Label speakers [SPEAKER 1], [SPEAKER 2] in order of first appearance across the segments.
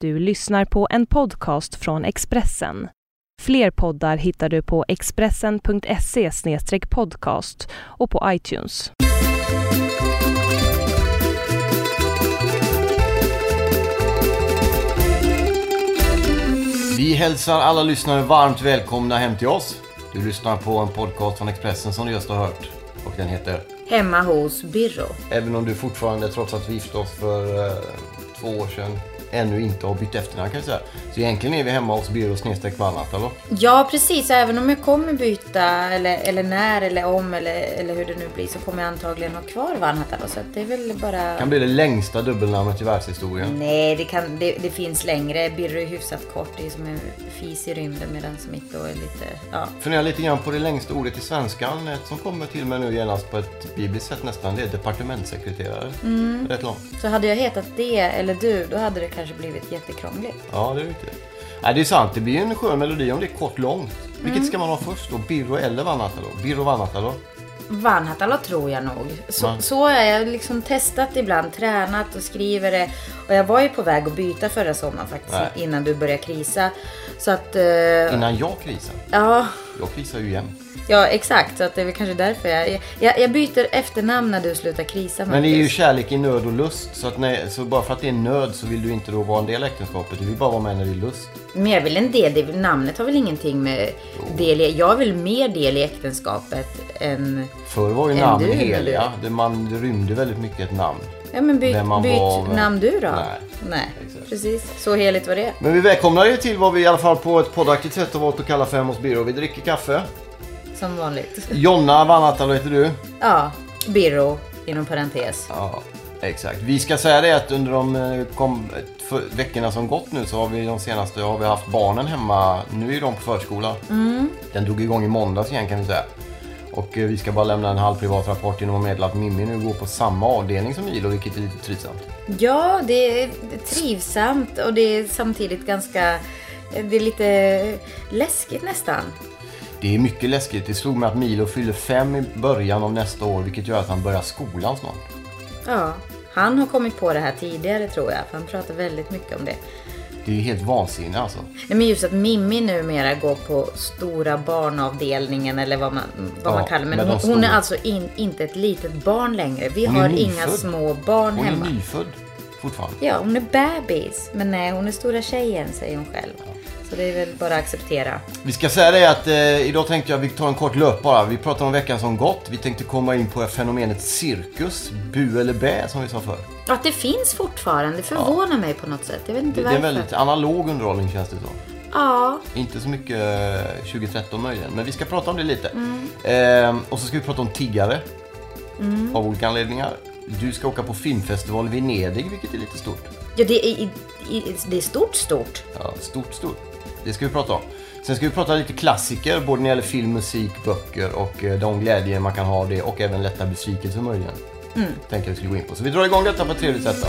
[SPEAKER 1] du lyssnar på en podcast från Expressen. Fler poddar hittar du på expressen.se podcast och på iTunes.
[SPEAKER 2] Vi hälsar alla lyssnare varmt välkomna hem till oss. Du lyssnar på en podcast från Expressen som du just har hört. Och den heter
[SPEAKER 3] Hemma hos Birro.
[SPEAKER 2] Även om du fortfarande, trots att vi gifte oss för eh, två år sedan, ännu inte har bytt efternamn kan vi säga. Så egentligen är vi hemma hos Byrå snedstreck varnat, eller?
[SPEAKER 3] Ja, precis. Även om jag kommer byta, eller, eller när, eller om, eller, eller hur det nu blir, så kommer jag antagligen ha kvar Vanhatalo. Så att det är väl bara...
[SPEAKER 2] kan bli det längsta dubbelnamnet i världshistorien.
[SPEAKER 3] Nej, det, kan, det, det finns längre. Birro är hyfsat kort. Det är som en fis i rymden medan mitt då är lite... Ja.
[SPEAKER 2] Fundera lite grann på det längsta ordet i svenskan ett som kommer till mig nu genast på ett bibliskt sätt nästan. Det är departementssekreterare. Rätt långt.
[SPEAKER 3] Så hade jag hetat det, eller du, då hade det kanske blivit jättekrångligt.
[SPEAKER 2] Ja, det är riktigt. Nej, det är sant. Det blir ju en skön melodi om det är kort långt. Vilket ska man ha först då? Birro eller Vanhatalo? Birro Vanhatalo?
[SPEAKER 3] Vanhatalo tror jag nog. Så,
[SPEAKER 2] Va?
[SPEAKER 3] så har jag liksom testat ibland, tränat och skriver det. Och jag var ju på väg att byta förra sommaren faktiskt,
[SPEAKER 2] Nej. Mm.
[SPEAKER 3] innan du började krisa. Så att... eh,
[SPEAKER 2] Innan jag krisar.
[SPEAKER 3] Ja,
[SPEAKER 2] Jag krisar ju jämt.
[SPEAKER 3] ja exakt. Så att det är väl kanske därför jag, jag... Jag byter efternamn när du slutar krisa
[SPEAKER 2] Men det är ju
[SPEAKER 3] Marcus.
[SPEAKER 2] kärlek i nöd och lust. Så, att nej, så bara för att det är nöd så vill du inte då vara en del av äktenskapet. Du vill bara vara med när det är lust.
[SPEAKER 3] Men jag vill en del, det, namnet har väl ingenting med del i, Jag vill mer del i äktenskapet än...
[SPEAKER 2] Förr var ju
[SPEAKER 3] Än
[SPEAKER 2] namn
[SPEAKER 3] du,
[SPEAKER 2] heliga.
[SPEAKER 3] eller?
[SPEAKER 2] Det, man, det rymde väldigt mycket ett namn.
[SPEAKER 3] Ja men byt,
[SPEAKER 2] Vem man var, vem-
[SPEAKER 3] byt namn du då.
[SPEAKER 2] Nej.
[SPEAKER 3] Nej,
[SPEAKER 2] Exakt.
[SPEAKER 3] precis. Så heligt var det.
[SPEAKER 2] Men vi välkomnar er till vad vi i alla fall på ett poddaktigt sätt har valt att kalla för Hemma hos Birro. Vi dricker kaffe.
[SPEAKER 3] Som vanligt.
[SPEAKER 2] Jonna Vanhatalo heter du.
[SPEAKER 3] Ja, Birro inom parentes.
[SPEAKER 2] Ja, exakt. Vi ska säga det att under de eh, kom, för, veckorna som gått nu så har vi de senaste har vi haft barnen hemma. Nu är de på förskola.
[SPEAKER 3] Mm.
[SPEAKER 2] Den drog igång i måndags igen kan vi säga. Och eh, vi ska bara lämna en halv privat rapport genom att meddela att Mimmi nu går på samma avdelning som Milo, vilket är lite trivsamt.
[SPEAKER 3] Ja, det är trivsamt och det är samtidigt ganska... Det är lite läskigt nästan.
[SPEAKER 2] Det är mycket läskigt. Det slog mig att Milo fyller fem i början av nästa år, vilket gör att han börjar skolan snart.
[SPEAKER 3] Ja. Han har kommit på det här tidigare tror jag, för han pratar väldigt mycket om det.
[SPEAKER 2] Det är ju helt vansinne alltså.
[SPEAKER 3] Nej, men just att Mimmi numera går på stora barnavdelningen eller vad man, vad
[SPEAKER 2] Ja,
[SPEAKER 3] man kallar det.
[SPEAKER 2] men
[SPEAKER 3] Men
[SPEAKER 2] de
[SPEAKER 3] hon, hon är
[SPEAKER 2] stora.
[SPEAKER 3] alltså in, inte ett litet barn längre. Vi
[SPEAKER 2] Hon är
[SPEAKER 3] har inga
[SPEAKER 2] nyfödd.
[SPEAKER 3] små barn
[SPEAKER 2] Hon
[SPEAKER 3] hemma.
[SPEAKER 2] är nyfödd fortfarande.
[SPEAKER 3] Ja, hon är bebis. Men nej, hon är stora tjejen säger hon själv. Så det är väl bara att acceptera.
[SPEAKER 2] Vi ska säga det att eh, idag tänkte jag vi tar en kort löp bara. Vi pratar om veckan som gått. Vi tänkte komma in på fenomenet cirkus, bu eller bä som vi sa förr.
[SPEAKER 3] Att det finns fortfarande förvånar mig på något sätt. Jag vet inte
[SPEAKER 2] Det, det är
[SPEAKER 3] varför.
[SPEAKER 2] en väldigt analog underhållning känns det som.
[SPEAKER 3] Ja,
[SPEAKER 2] Inte så mycket eh, 2013 möjligen, men vi ska prata om det lite. Ehm, och så ska vi prata om tiggare. Av olika anledningar. Du ska åka på filmfestival i Venedig, vilket är lite stort.
[SPEAKER 3] ja det, är, i- i- det är stort, stort.
[SPEAKER 2] Ja, stort, stort. Det ska vi prata om. Sen ska vi prata lite klassiker, både när det gäller film, musik, böcker och eh, de glädjer man kan ha av det och även lätta besvikelser möjligen. Mm. Tänker vi skulle gå in på. Så vi drar igång detta på ett trevligt sätt. Då.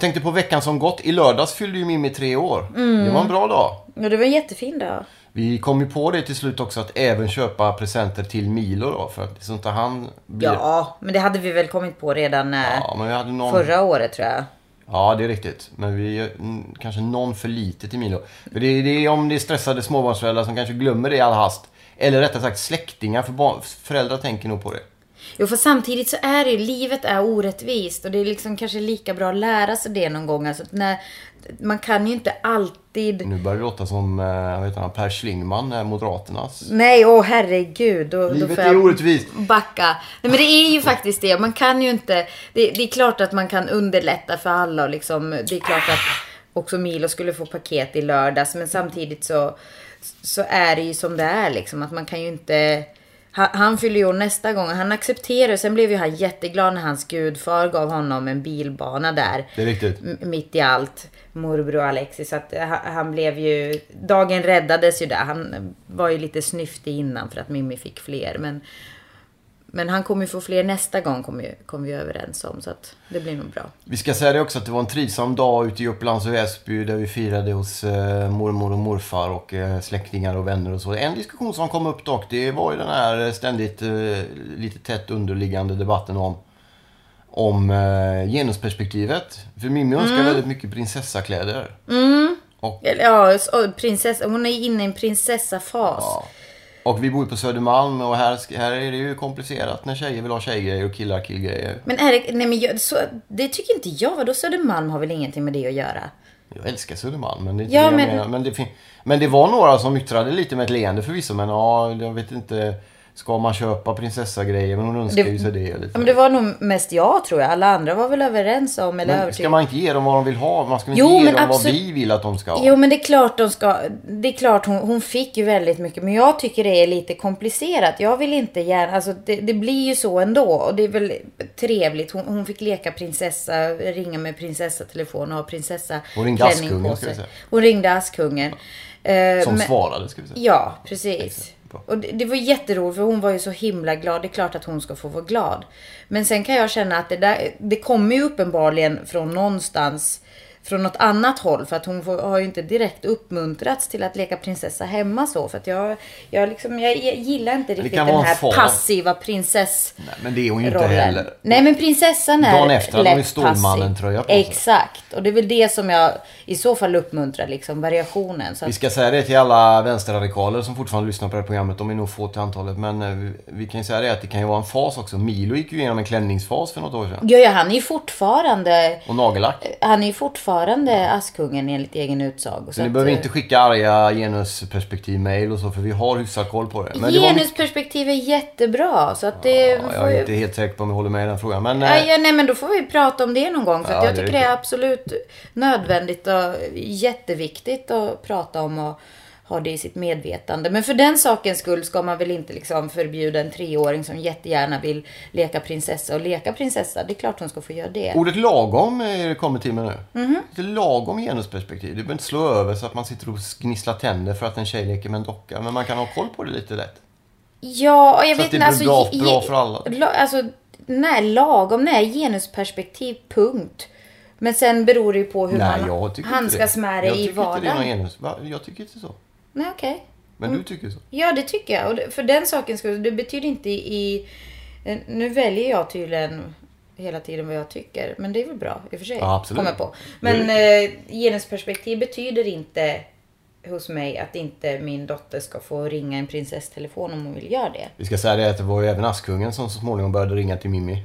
[SPEAKER 2] Tänkte på veckan som gått. I lördags fyllde ju Mimmi tre år. Det var en bra dag.
[SPEAKER 3] Ja, det var en jättefin dag.
[SPEAKER 2] Vi kom ju på det till slut också att även köpa presenter till Milo då för att så inte han blir...
[SPEAKER 3] Ja, men det hade vi väl kommit på redan eh,
[SPEAKER 2] Ja, men vi hade någon...
[SPEAKER 3] förra året tror jag.
[SPEAKER 2] Ja, det är riktigt. Men vi mm, kanske någon för lite till Milo. För det, är- det är om det är stressade småbarnsföräldrar som kanske glömmer det i all hast. Eller rättare sagt släktingar, för barn, föräldrar tänker nog på det.
[SPEAKER 3] Jo, för samtidigt så är det ju, livet är orättvist och det är liksom kanske lika bra att lära sig det någon gång. Alltså, att när, man kan ju inte alltid...
[SPEAKER 2] Nu börjar det låta som eh, vad heter han, Per Schlingmann, eh, Moderaternas.
[SPEAKER 3] Nej, åh herregud. Då, Mm. då
[SPEAKER 2] Livet
[SPEAKER 3] får
[SPEAKER 2] är
[SPEAKER 3] jag
[SPEAKER 2] orättvist.
[SPEAKER 3] Backa. Nej, men det är ju faktiskt det. Man kan ju inte. Det, det är klart att man kan underlätta för alla och liksom. Det är klart att också Milo skulle få paket i lördags, men samtidigt så så är det ju som det är liksom att man kan ju inte. Han, han fyller ju år nästa gång. Han accepterar. Sen blev ju han jätteglad när hans gudfar gav honom en bilbana där.
[SPEAKER 2] Det är riktigt.
[SPEAKER 3] M- mitt i allt. Morbror Alexis. Så att ha- han blev ju... Dagen räddades ju där. Han var ju lite snyftig innan för att Mimmi fick fler. Men, Men han kommer ju få fler nästa gång, kommer, ju, kommer vi överens om. Så att det blir nog bra.
[SPEAKER 2] Vi ska säga det också att det var en trivsam dag ute i Upplands och Väsby där vi firade hos eh, mormor och morfar och eh, släktingar och vänner och så. En diskussion som kom upp dock, det var ju den här eh, ständigt eh, lite tätt underliggande debatten om om eh, genusperspektivet. För Mimmi önskar väldigt mycket prinsessakläder. Och,
[SPEAKER 3] Eller, Ja, så- prinsessa, hon är inne i en prinsessafas.
[SPEAKER 2] ja. och vi bor ju på Södermalm och här, sk- här är det ju komplicerat när tjejer vill ha tjejgrejer och killar killgrejer.
[SPEAKER 3] Men är det, nej men jag, så, det tycker inte jag. Vadå Södermalm har väl ingenting med det att göra?
[SPEAKER 2] Jag älskar Södermalm, men det, är inte
[SPEAKER 3] Ja,
[SPEAKER 2] det jag
[SPEAKER 3] men-
[SPEAKER 2] menar. men, det fin- men det var några som yttrade lite med ett leende förvisso, men ja, jag vet inte. Ska man köpa prinsessa-grejer? Men hon önskar
[SPEAKER 3] Det-
[SPEAKER 2] ju sig det.
[SPEAKER 3] Ja,
[SPEAKER 2] Lite.
[SPEAKER 3] men det var nog mest jag tror jag. Alla andra var väl överens om eller
[SPEAKER 2] Men ska
[SPEAKER 3] övertygade.
[SPEAKER 2] man inte ge dem vad de vill ha? Man ska väl
[SPEAKER 3] Jo,
[SPEAKER 2] inte ge
[SPEAKER 3] men
[SPEAKER 2] dem vad
[SPEAKER 3] absolut-
[SPEAKER 2] vi vill att de ska ha?
[SPEAKER 3] Jo men det är klart de ska. Det är klart hon, hon fick ju väldigt mycket. Men jag tycker det är lite komplicerat. Jag vill inte gärna. Alltså det, det blir ju så ändå. Och det är väl trevligt. Hon, hon fick leka prinsessa. Ringa med prinsessa-telefon och ha prinsessa
[SPEAKER 2] Hon ringde
[SPEAKER 3] klänning
[SPEAKER 2] Askungen,
[SPEAKER 3] på
[SPEAKER 2] ska vi
[SPEAKER 3] sig.
[SPEAKER 2] säga.
[SPEAKER 3] Hon ringde Askungen. Eh,
[SPEAKER 2] Som
[SPEAKER 3] men-
[SPEAKER 2] svarade, ska vi säga.
[SPEAKER 3] Ja, precis.
[SPEAKER 2] Bra.
[SPEAKER 3] Och det, det var jätteroligt för hon var ju så himla glad. Det är klart att hon ska få vara glad. Men sen kan jag känna att det där, det kommer ju uppenbarligen från någonstans, från något annat håll. För att hon får, har ju inte direkt uppmuntrats till att leka prinsessa hemma så. För att jag, jag, liksom, jag gillar inte riktigt
[SPEAKER 2] kan
[SPEAKER 3] den
[SPEAKER 2] vara en
[SPEAKER 3] här
[SPEAKER 2] fara.
[SPEAKER 3] passiva prinsess
[SPEAKER 2] Nej, men det är hon ju inte
[SPEAKER 3] rollen.
[SPEAKER 2] heller.
[SPEAKER 3] Nej men prinsessan är
[SPEAKER 2] Dagen efter hade hon ju
[SPEAKER 3] lätt
[SPEAKER 2] Stålmannen-tröja på sig.
[SPEAKER 3] passiv. Exakt. Och det är väl det som jag i så fall uppmuntrar liksom variationen. Så att,
[SPEAKER 2] Vi ska säga det till alla vänsterradikaler som fortfarande lyssnar på det här programmet. De är nog få till antalet. Men eh, vi- vi kan ju säga det att det kan ju vara en fas också. Milo gick ju igenom en klänningsfas för något år sedan.
[SPEAKER 3] ja, ja, han är ju fortfarande
[SPEAKER 2] Och nagellack.
[SPEAKER 3] Han är ju fortfarande Askungen enligt egen utsago.
[SPEAKER 2] Så ni behöver
[SPEAKER 3] eh,
[SPEAKER 2] inte skicka arga genusperspektiv-mail och så för vi har hyfsat koll på det. Men det var mycket...
[SPEAKER 3] eh, Genusperspektiv är jättebra. Så att det
[SPEAKER 2] ja,
[SPEAKER 3] får
[SPEAKER 2] jag
[SPEAKER 3] ju...
[SPEAKER 2] är inte helt säker på om jag håller med i den frågan. Men
[SPEAKER 3] Nej,
[SPEAKER 2] eh,
[SPEAKER 3] ja, nej men då får vi prata om det någon gång. För
[SPEAKER 2] Ja,
[SPEAKER 3] att jag
[SPEAKER 2] det är
[SPEAKER 3] tycker det är absolut nödvändigt och jätteviktigt att prata om och ha det i sitt medvetande. Men för den sakens skull ska man väl inte liksom förbjuda en treåring som jättegärna vill leka prinsessa och leka prinsessa. Det är klart hon ska få göra det.
[SPEAKER 2] ordet lagom eh, är det kommit till mig nu.
[SPEAKER 3] Mhm.
[SPEAKER 2] Lite lagom genusperspektiv. Du behöver inte slå över så att man sitter och gnisslar tänder för att en tjej leker med en docka. Men man kan ha koll på det lite lätt.
[SPEAKER 3] Ja, och jag
[SPEAKER 2] Så
[SPEAKER 3] vet
[SPEAKER 2] att det
[SPEAKER 3] inte. alltså,
[SPEAKER 2] blir bra-
[SPEAKER 3] ge-
[SPEAKER 2] bra för alla.
[SPEAKER 3] La, alltså, nej, lagom. Nej, genusperspektiv, punkt. Men sen beror det ju på hur
[SPEAKER 2] Nej,
[SPEAKER 3] man
[SPEAKER 2] jag tycker inte
[SPEAKER 3] handskas
[SPEAKER 2] det.
[SPEAKER 3] med det
[SPEAKER 2] jag
[SPEAKER 3] i
[SPEAKER 2] tycker inte det är någon
[SPEAKER 3] vardagen. Mm.
[SPEAKER 2] genus. Va? Jag tycker inte så.
[SPEAKER 3] Nej, okej.
[SPEAKER 2] Men du tycker så.
[SPEAKER 3] Ja, det tycker jag. Och det, för den sakens skull, det betyder inte i... eh, Nu väljer jag tydligen hela tiden vad jag tycker. Men det är väl bra i och för sig.
[SPEAKER 2] Ja, absolut.
[SPEAKER 3] kommer jag på. Men eh, genusperspektiv betyder inte hos mig att inte min dotter ska få ringa en prinsesstelefon om hon vill göra det.
[SPEAKER 2] Vi ska säga det att det var ju även Askungen som så småningom började ringa till
[SPEAKER 3] Äh,
[SPEAKER 2] Mimmi.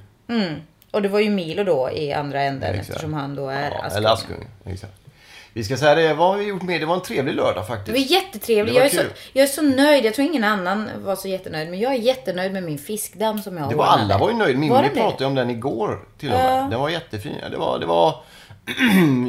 [SPEAKER 3] Och det var ju Milo då i andra änden
[SPEAKER 2] Exakt.
[SPEAKER 3] eftersom han då är
[SPEAKER 2] Ja,
[SPEAKER 3] Askungen.
[SPEAKER 2] eller Askungen. Exakt. Vi ska säga det, vad har vi gjort med? Det var en trevlig lördag
[SPEAKER 3] Det
[SPEAKER 2] faktiskt.
[SPEAKER 3] var jättetrevligt.
[SPEAKER 2] Det var
[SPEAKER 3] jag, är så,
[SPEAKER 2] kul.
[SPEAKER 3] jag är så nöjd. Jag tror ingen annan var så jättenöjd. Men jag är jättenöjd med min fiskdamm som jag
[SPEAKER 2] Det var
[SPEAKER 3] ordnade.
[SPEAKER 2] alla var ju nöjda.
[SPEAKER 3] Var
[SPEAKER 2] Mimmi
[SPEAKER 3] det det?
[SPEAKER 2] pratade om den igår till och med. Den var jättefin. Ja, Det var, det var...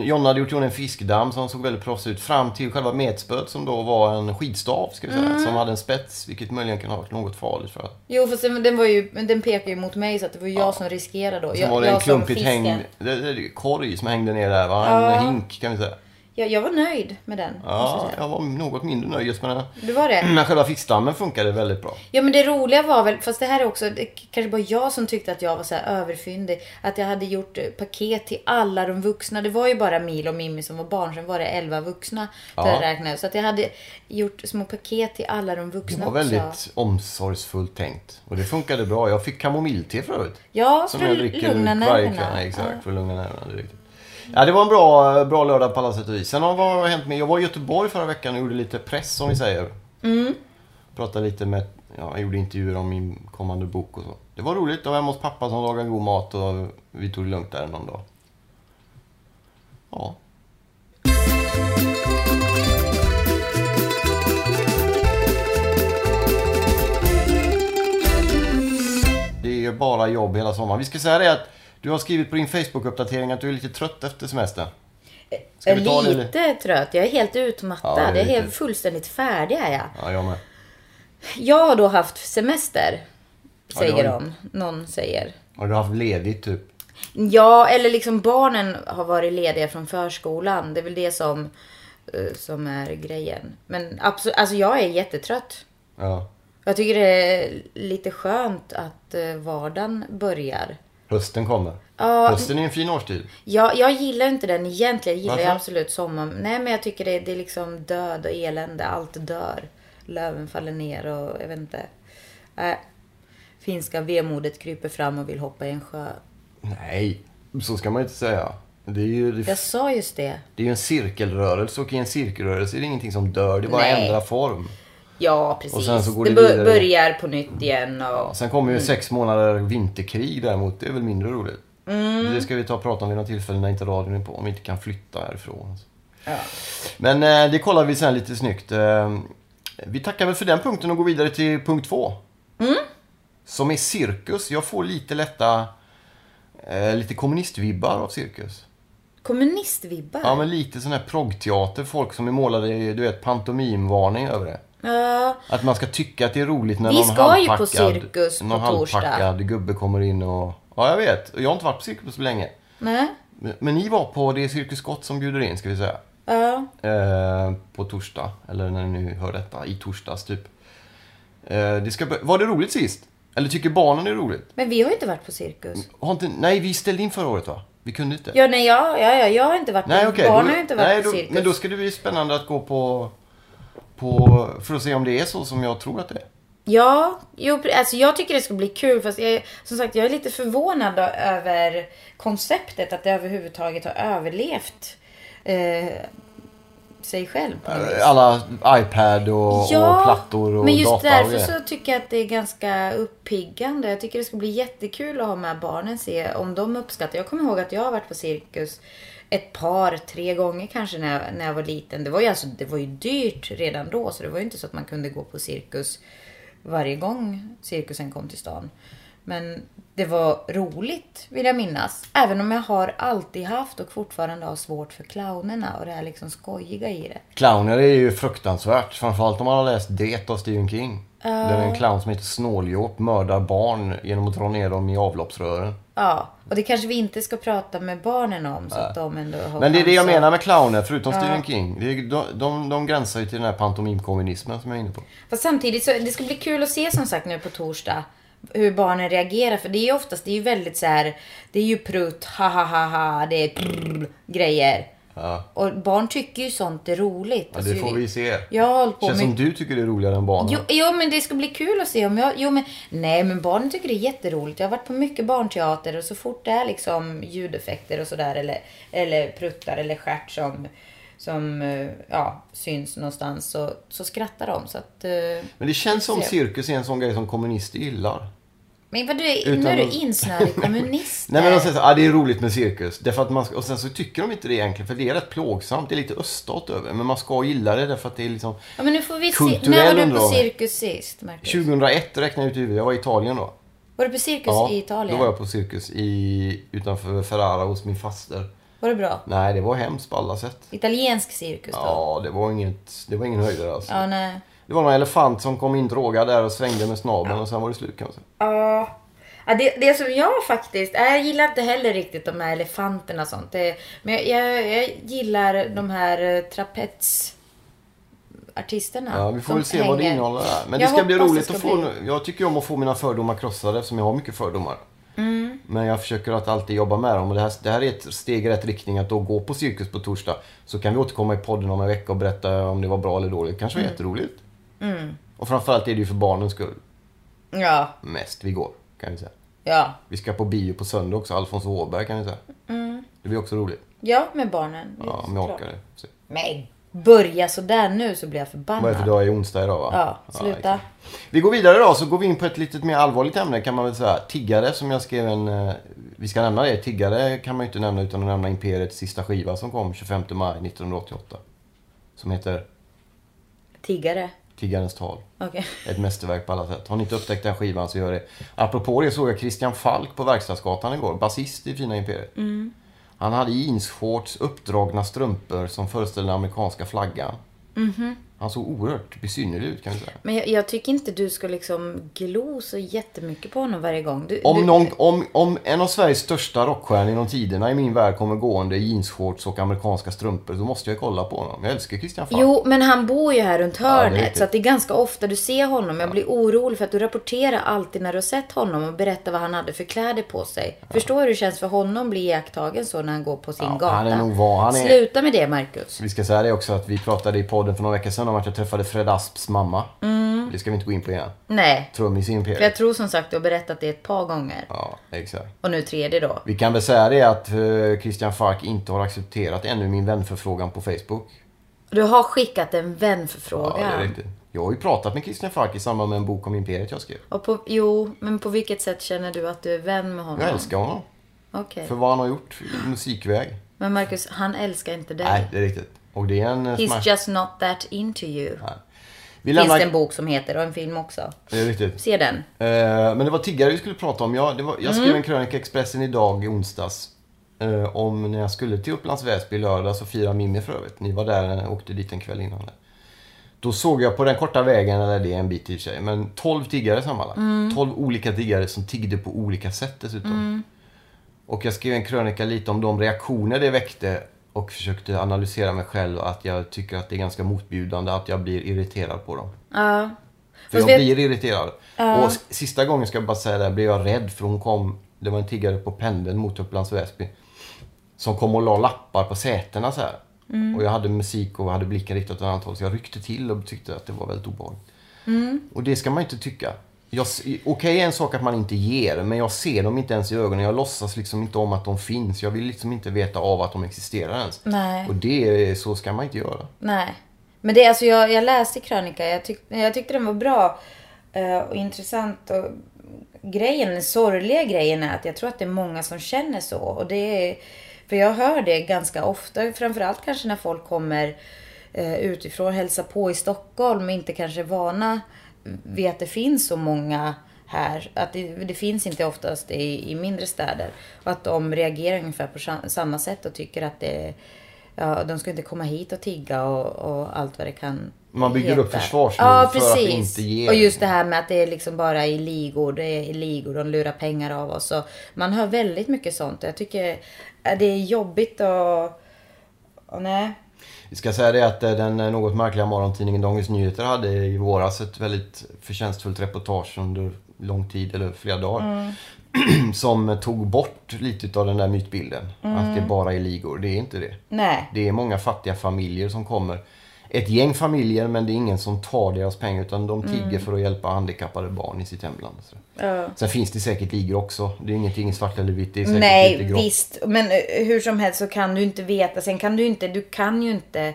[SPEAKER 2] Jonna hade gjort i ordning en fiskdamm som såg väldigt proffsig ut. Fram till själva metspöet som då var en skidstav, ska vi säga.
[SPEAKER 3] Mm.
[SPEAKER 2] Som hade en spets, vilket möjligen kan ha varit något farligt för att...
[SPEAKER 3] Jo fast den, den, var ju, men den pekade ju mot mig så att det var jag som riskerade då.
[SPEAKER 2] Sen
[SPEAKER 3] jag,
[SPEAKER 2] var det en
[SPEAKER 3] jag som
[SPEAKER 2] klumpigt
[SPEAKER 3] fisken.
[SPEAKER 2] hängd... Det, det, det, korg som hängde ner där, va? En hink kan vi säga.
[SPEAKER 3] Jag, jag var nöjd med den. måste
[SPEAKER 2] Ja,
[SPEAKER 3] jag säga.
[SPEAKER 2] jag var något mindre nöjd just med den.
[SPEAKER 3] Det var det.
[SPEAKER 2] Men själva fiskdammen funkade väldigt bra.
[SPEAKER 3] Ja men det roliga var väl, fast det här är också, det kanske bara jag som tyckte att jag var så här överfyndig. Att jag hade gjort eh, paket till alla de vuxna. Det var ju bara Mil och Mimmi som var barn, sen var det 11 vuxna.
[SPEAKER 2] Ja.
[SPEAKER 3] Ja. Räknade. Så att jag hade gjort små paket till alla de vuxna
[SPEAKER 2] Det var
[SPEAKER 3] också.
[SPEAKER 2] väldigt omsorgsfullt tänkt. Och det funkade bra. Jag fick kamomillte förut.
[SPEAKER 3] Ja,
[SPEAKER 2] Som
[SPEAKER 3] för
[SPEAKER 2] jag
[SPEAKER 3] att
[SPEAKER 2] dricker
[SPEAKER 3] lugna
[SPEAKER 2] varje
[SPEAKER 3] nerverna.
[SPEAKER 2] kväll. Nej, Exakt, för att lugna nerverna. Det är riktigt. Ja, det var en bra, eh, bra lördag på alla sätt och vis. Sen har vad har hänt med... Jag var i Göteborg förra veckan och gjorde lite press som vi säger. Mm. Pratade lite med... Ja, jag gjorde intervjuer om min kommande bok och så. Det var roligt. Jag var hemma hos pappa som lagade god mat och vi tog det lugnt där någon dag. Ja. Det är bara jobb hela sommaren. Vi ska säga det att du har skrivit på din Facebook-uppdatering att du är lite trött efter semestern. Ska vi ta det, eller?
[SPEAKER 3] Eh, Lite trött. Jag är helt utmattad.
[SPEAKER 2] Ja, det är
[SPEAKER 3] jag är
[SPEAKER 2] riktigt.
[SPEAKER 3] helt, fullständigt färdig är jag.
[SPEAKER 2] Ja, jag med.
[SPEAKER 3] Jag har då haft semester.
[SPEAKER 2] det har
[SPEAKER 3] Säger
[SPEAKER 2] du.
[SPEAKER 3] de. Någon säger.
[SPEAKER 2] Har du haft ledigt typ?
[SPEAKER 3] Ja, eller liksom barnen har varit lediga från förskolan. Det är väl det som, eh, som är grejen. Men absolut, alltså jag är jättetrött.
[SPEAKER 2] Ja.
[SPEAKER 3] Jag tycker det är lite skönt att eh, vardagen börjar.
[SPEAKER 2] Hösten kommer.
[SPEAKER 3] Ja.
[SPEAKER 2] Hösten är en fin årstid.
[SPEAKER 3] Jag, jag gillar inte den egentligen. Jag gillar ju
[SPEAKER 2] Varför?
[SPEAKER 3] absolut sommaren. Nej, men jag tycker det, det är liksom död och elände. Allt dör. Löven faller ner och jag vet inte. Äh, finska vemodet kryper fram och vill hoppa i en sjö.
[SPEAKER 2] Nej, så ska man ju inte säga. Det är ju, det,
[SPEAKER 3] Jag sa just det.
[SPEAKER 2] det är ju en cirkelrörelse och i en cirkelrörelse är det ingenting som dör. Det bara
[SPEAKER 3] Nej.
[SPEAKER 2] ändrar form.
[SPEAKER 3] Ja, precis.
[SPEAKER 2] Och sen så går
[SPEAKER 3] det
[SPEAKER 2] det
[SPEAKER 3] bör-
[SPEAKER 2] vidare.
[SPEAKER 3] börjar på nytt igen och...
[SPEAKER 2] Sen kommer ju sex månader vinterkrig däremot. Det är väl mindre roligt. Det ska vi ta och prata om vid något tillfälle när inte radion är på. Om vi inte kan flytta härifrån.
[SPEAKER 3] Ja.
[SPEAKER 2] Men eh, det kollar vi sen lite snyggt. Eh, vi tackar väl för den punkten och går vidare till punkt två. Som är cirkus. Jag får lite lätta... Eh, lite kommunistvibbar av cirkus.
[SPEAKER 3] Kommunistvibbar?
[SPEAKER 2] Ja, men lite sån här proggteater. Folk som är målade i, du vet, pantomimvarning över det.
[SPEAKER 3] Ja,
[SPEAKER 2] Att man ska tycka att det är roligt när
[SPEAKER 3] Vi
[SPEAKER 2] någon
[SPEAKER 3] ska ju på
[SPEAKER 2] halvpackad-
[SPEAKER 3] cirkus på
[SPEAKER 2] någon
[SPEAKER 3] torsdag.
[SPEAKER 2] halvpackad gubbe kommer in och... Ja, jag vet. Och Jag har inte varit på cirkus så länge.
[SPEAKER 3] nej.
[SPEAKER 2] Men, men ni var på, det är Cirkus Scott som bjuder in, ska vi säga.
[SPEAKER 3] Ja.
[SPEAKER 2] Eh, på torsdag, eller när ni nu hör detta, i torsdags typ. Eh, det ska, bör- var det roligt sist? Eller tycker barnen det är roligt?
[SPEAKER 3] Men vi har ju inte varit på cirkus.
[SPEAKER 2] Har inte, nej, vi ställde in förra året va? Vi kunde inte.
[SPEAKER 3] Ja, nej, ja, ja, ja jag har inte varit
[SPEAKER 2] nej,
[SPEAKER 3] på...
[SPEAKER 2] okej.
[SPEAKER 3] Barnen
[SPEAKER 2] då-
[SPEAKER 3] har ju inte varit
[SPEAKER 2] nej,
[SPEAKER 3] på
[SPEAKER 2] då,
[SPEAKER 3] cirkus.
[SPEAKER 2] Men då ska det bli spännande att gå på, på... För att se om det är så som jag tror att det är.
[SPEAKER 3] Ja, jo, pre- alltså jag tycker det ska bli kul fast jag, är- som sagt jag är lite förvånad ö- över konceptet att det överhuvudtaget har överlevt eh, sig själv. på något vis.
[SPEAKER 2] Alla iPad och, och plattor och
[SPEAKER 3] men just
[SPEAKER 2] data och
[SPEAKER 3] därför
[SPEAKER 2] grejer.
[SPEAKER 3] så tycker jag att det är ganska uppiggande. Jag tycker det ska bli jättekul att ha med barnen se om de uppskattar. Jag kommer ihåg att jag har varit på cirkus ett par, tre gånger kanske när jag, när jag var liten. Det var, ju alltså, det var ju dyrt redan då så det var ju inte så att man kunde gå på cirkus varje gång cirkusen kom till stan. Men det var roligt vill jag minnas. Även om jag har alltid haft och fortfarande har svårt för clownerna och det här liksom skojiga i det.
[SPEAKER 2] Clowner är ju fruktansvärt. Framförallt om man har läst Det av Stephen King. Där är en clown som heter Snåljåp mördar barn genom att dra ner dem i avloppsrören.
[SPEAKER 3] Ja, och det kanske vi inte ska prata med barnen om så att de ändå har
[SPEAKER 2] Men det är det jag
[SPEAKER 3] chans att-
[SPEAKER 2] menar med clowner, förutom Stephen King. Det är, de, de, de gränsar ju till den här pantomimkommunismen som jag är inne på.
[SPEAKER 3] Fast samtidigt så det ska bli kul att se som sagt nu på torsdag hur barnen reagerar för det är ju oftast det är ju väldigt så här det är ju prutt, ha ha ha ha, det är prr, grejer.
[SPEAKER 2] Ja.
[SPEAKER 3] Och barn tycker ju sånt är roligt.
[SPEAKER 2] Ja, det får vi se.
[SPEAKER 3] Alltså, Jag har hållit på
[SPEAKER 2] Känns
[SPEAKER 3] med
[SPEAKER 2] som du tycker det är roligare än barnen.
[SPEAKER 3] Jo, jo, men det ska bli kul att se om jag... Jo, men, nej, men barnen tycker det är jätteroligt. Jag har varit på mycket barnteater och så fort det är liksom ljudeffekter och sådär eller, eller pruttar eller stjärt som, som eh, ja, syns någonstans så, så skrattar de. Så att, eh,
[SPEAKER 2] Men det känns som
[SPEAKER 3] Se.
[SPEAKER 2] cirkus är en sån grej som kommunister gillar.
[SPEAKER 3] men vad du,
[SPEAKER 2] Utan
[SPEAKER 3] nu är du
[SPEAKER 2] att-
[SPEAKER 3] insnöad i kommunister.
[SPEAKER 2] Nej men de säger så, här, ah, det är roligt med cirkus. Därför att man, ska- och sen så tycker de inte det egentligen för det är rätt plågsamt. Det är lite öststat över. Men man ska gilla det därför att det är liksom...
[SPEAKER 3] ja, men nu får vi se.
[SPEAKER 2] Kulturell
[SPEAKER 3] När var du på
[SPEAKER 2] underhållning.
[SPEAKER 3] cirkus sist, Marcus?
[SPEAKER 2] 2001 räknar jag ut i huvudet. Jag var i Italien då.
[SPEAKER 3] Var du på cirkus i Italien?
[SPEAKER 2] då var jag på cirkus i, utanför Ferrara hos min faster.
[SPEAKER 3] Var det bra?
[SPEAKER 2] Nej, det var hemskt på alla sätt.
[SPEAKER 3] Italiensk cirkus då?
[SPEAKER 2] Ja, det var, inget, det var ingen höjdare alltså.
[SPEAKER 3] Ja, nej.
[SPEAKER 2] Det var någon elefant som kom in drogad där och svängde med snabeln och sen var det slut kan man säga.
[SPEAKER 3] Ja. Ja, det, det som jag faktiskt, nej, jag gillar inte heller riktigt de här elefanterna och sånt. Det, men jag, jag, jag gillar de här eh, trapetsartisterna.
[SPEAKER 2] Ja, vi får
[SPEAKER 3] som
[SPEAKER 2] väl se vad det
[SPEAKER 3] hänger.
[SPEAKER 2] innehåller där. Men
[SPEAKER 3] Jag
[SPEAKER 2] det ska bli
[SPEAKER 3] hoppas
[SPEAKER 2] roligt
[SPEAKER 3] det
[SPEAKER 2] att
[SPEAKER 3] ska
[SPEAKER 2] få.
[SPEAKER 3] bli.
[SPEAKER 2] Jag tycker om att få mina fördomar krossade eftersom jag har mycket fördomar.
[SPEAKER 3] Mm.
[SPEAKER 2] Men jag försöker att alltid jobba med dem. Och det här, det här är ett steg i rätt riktning att då gå på cirkus på torsdag. Så kan vi återkomma i podden om en vecka och berätta om det var bra eller dåligt. kanske var
[SPEAKER 3] Mm.
[SPEAKER 2] jätteroligt. Och framförallt är det ju för barnens skull
[SPEAKER 3] Ja,
[SPEAKER 2] mest vi går. Kan vi säga.
[SPEAKER 3] ja,
[SPEAKER 2] Vi ska på bio på söndag också. Alfons Åberg kan vi säga.
[SPEAKER 3] Mm.
[SPEAKER 2] Det blir också roligt.
[SPEAKER 3] ja, med barnen.
[SPEAKER 2] Ja, om jag orkar det. Så.
[SPEAKER 3] Men börja sådär nu så blir jag
[SPEAKER 2] Vad är det för
[SPEAKER 3] förbannad.
[SPEAKER 2] dag? Det är onsdag idag va?
[SPEAKER 3] Ja, sluta.
[SPEAKER 2] exakt. vi går vidare då, så går vi in på ett lite mer allvarligt ämne kan man väl säga. Tiggare som jag skrev en... eh, Vi ska nämna det. Tiggare kan man ju inte nämna utan att nämna Imperiets sista skiva som kom 25 maj 1988. Som heter
[SPEAKER 3] Tiggare.
[SPEAKER 2] Tiggarens tal.
[SPEAKER 3] Okej.
[SPEAKER 2] Ett mästerverk på alla sätt. Har ni inte upptäckt den skivan så gör det. Apropå det såg jag Christian Falk på Verkstadsgatan igår. Basist i fina Imperiet. Han hade jeansshorts, uppdragna strumpor som föreställde den amerikanska flaggan. Han såg oerhört besynnerlig ut kan vi säga.
[SPEAKER 3] Men jag, jag tycker inte du ska liksom glo så jättemycket på honom varje gång. Du, du,
[SPEAKER 2] Om, någon, om, om en av Sveriges största rockstjärnor genom tiderna i min värld kommer gående i jeansshorts och amerikanska strumpor så måste jag kolla på honom. Jag älskar Christian Falk.
[SPEAKER 3] Jo, men han bor ju här runt hörnet.
[SPEAKER 2] riktigt.
[SPEAKER 3] så att det är ganska ofta du ser honom. Jag blir orolig för att du rapporterar alltid när du har sett honom och berättar vad han hade för kläder på sig. Förstår du hur det känns för honom att bli iakttagen så när han går på sin
[SPEAKER 2] Ja,
[SPEAKER 3] gata?
[SPEAKER 2] han är nog van- han är-
[SPEAKER 3] Sluta med det, Marcus.
[SPEAKER 2] Vi ska säga det också att vi pratade i podden för några veckor sedan om att jag träffade Fred Asps mamma. Det ska vi inte gå in på igen.
[SPEAKER 3] Nej.
[SPEAKER 2] Trummis i
[SPEAKER 3] För Mm. jag
[SPEAKER 2] Imperiet.
[SPEAKER 3] tror som sagt du har berättat det ett par gånger.
[SPEAKER 2] Ja, exakt.
[SPEAKER 3] Och nu tredje då.
[SPEAKER 2] Vi kan väl säga det att eh, Christian Falk inte har accepterat ännu min vänförfrågan på Facebook.
[SPEAKER 3] Du har skickat en
[SPEAKER 2] Ja, det är
[SPEAKER 3] vänförfrågan.
[SPEAKER 2] riktigt. Jag har ju pratat med Christian Falk i samband med en bok om Imperiet jag skrev.
[SPEAKER 3] och på, jo, men på vilket sätt känner du att du är vän med honom?
[SPEAKER 2] Jag älskar honom.
[SPEAKER 3] Okej.
[SPEAKER 2] För vad han har gjort i musikväg.
[SPEAKER 3] Men Marcus, han älskar inte dig.
[SPEAKER 2] Nej, det är riktigt. Och det är en eh,
[SPEAKER 3] He's
[SPEAKER 2] smash.
[SPEAKER 3] just not that into you.
[SPEAKER 2] Nej. Vi
[SPEAKER 3] Finns
[SPEAKER 2] lämnar...
[SPEAKER 3] det en bok som heter och en film också.
[SPEAKER 2] Det är riktigt.
[SPEAKER 3] Se den.
[SPEAKER 2] Eh, men det var tiggare vi skulle prata om. Jag, det var, jag skrev
[SPEAKER 3] Mm.
[SPEAKER 2] en krönika i Expressen idag i onsdags. Eh, om när jag skulle till Upplands Väsby i lördags och fira Mimmi för övrigt. Ni var där och åkte dit en kväll innan. Då såg jag på den korta vägen, eller det är en bit i och för sig, men 12 tiggare sammanlagt.
[SPEAKER 3] Mm.
[SPEAKER 2] 12 olika tiggare som tiggde på olika sätt dessutom. Och jag skrev en krönika lite om de reaktioner det väckte och försökte analysera mig själv att jag tycker att det är ganska motbjudande att jag blir irriterad på dem.
[SPEAKER 3] Ja.
[SPEAKER 2] För jag
[SPEAKER 3] Fast vet-
[SPEAKER 2] blir irriterad. Och s- sista gången ska jag bara säga det här, blev jag rädd för hon kom, det var en tiggare på pendeln mot Upplands Väsby. Som kom och la lappar på sätena så här.
[SPEAKER 3] Mm.
[SPEAKER 2] Och jag hade musik och hade blicken riktad åt ett annat håll så jag ryckte till och tyckte att det var väldigt obehagligt.
[SPEAKER 3] Mm.
[SPEAKER 2] Och det ska man ju inte tycka. Jag s- Okej är en sak att man inte ger, men jag ser dem inte ens i ögonen. Jag låtsas liksom inte om att de finns. Jag vill liksom inte veta av att de existerar ens.
[SPEAKER 3] Nej.
[SPEAKER 2] Och det, är- så ska man inte göra.
[SPEAKER 3] Nej. Men det, alltså jag, jag läste krönika. Jag, tyck, jag tyckte den var bra eh, och intressant. Och grejen, den sorgliga grejen är att jag tror att det är många som känner så. Och det är, för jag hör det ganska ofta. Framförallt kanske när folk kommer eh, utifrån, hälsa på i Stockholm och inte kanske är vana vid att det finns så många här. Att det, det finns inte oftast i, i mindre städer. Och att de reagerar ungefär på sam- samma sätt och tycker att det Ja, de ska inte komma hit och tigga och, och allt vad det kan
[SPEAKER 2] Man bygger
[SPEAKER 3] heta.
[SPEAKER 2] upp försvarsmur
[SPEAKER 3] ja,
[SPEAKER 2] för att
[SPEAKER 3] precis.
[SPEAKER 2] inte ge.
[SPEAKER 3] Och just det här med att det är liksom bara i ligor, det är i ligor, de lurar pengar av oss. Och man hör väldigt mycket sånt. Jag tycker eh, det är jobbigt och... och nej.
[SPEAKER 2] Vi ska säga det att eh, den eh, något märkliga morgontidningen Dagens Nyheter hade i våras ett väldigt förtjänstfullt reportage under lång tid, eller flera dagar. Som eh, tog bort lite av den där mytbilden.
[SPEAKER 3] Mm.
[SPEAKER 2] Att det bara är ligor. Det är inte det.
[SPEAKER 3] Nej.
[SPEAKER 2] Det är många fattiga familjer som kommer. Ett gäng familjer men det är ingen som tar deras pengar utan de tigger
[SPEAKER 3] Mm.
[SPEAKER 2] för att hjälpa handikappade barn i sitt hemland. Så.
[SPEAKER 3] Ja.
[SPEAKER 2] Sen finns det säkert ligor också. Det är ingenting svart eller vitt. Det är säkert lite
[SPEAKER 3] Nej,
[SPEAKER 2] grått.
[SPEAKER 3] visst. Men eh, hur som helst så kan du inte veta. Sen kan du inte, du kan ju inte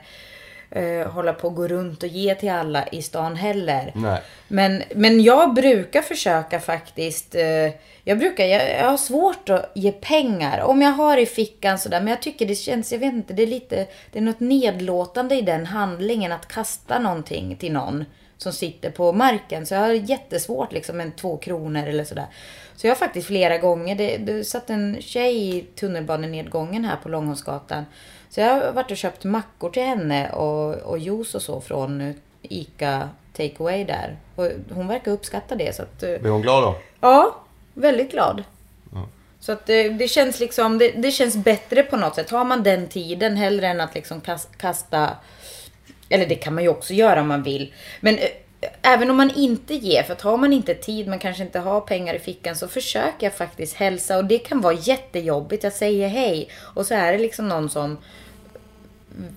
[SPEAKER 3] eh, hålla på och gå runt och ge till alla i stan heller.
[SPEAKER 2] Nej.
[SPEAKER 3] Men, men jag brukar försöka faktiskt. eh, Jag brukar, jag, jag har svårt att ge pengar. Om jag har i fickan sådär. Men jag tycker det känns, jag vet inte, det är lite, det är något nedlåtande i den handlingen att kasta någonting till någon som sitter på marken. Så jag har jättesvårt liksom en två kronor eller sådär. Så jag har faktiskt flera gånger, det, det satt en tjej i tunnelbanenedgången här på Långholmsgatan. Så jag har varit och köpt mackor till henne och, och juice och så från eh, ICA takeaway där. Och hon verkar uppskatta det. Så att, eh,
[SPEAKER 2] Blir hon glad då?
[SPEAKER 3] ja, väldigt glad. Så att eh, det känns liksom, det, det känns bättre på något sätt. Har man den tiden hellre än att liksom kas, kasta, eller det kan man ju också göra om man vill. Men eh, även om man inte ger, för att har man inte tid, man kanske inte har pengar i fickan, så försöker jag faktiskt hälsa. Och det kan vara jättejobbigt. Jag säger hej och så är det liksom någon som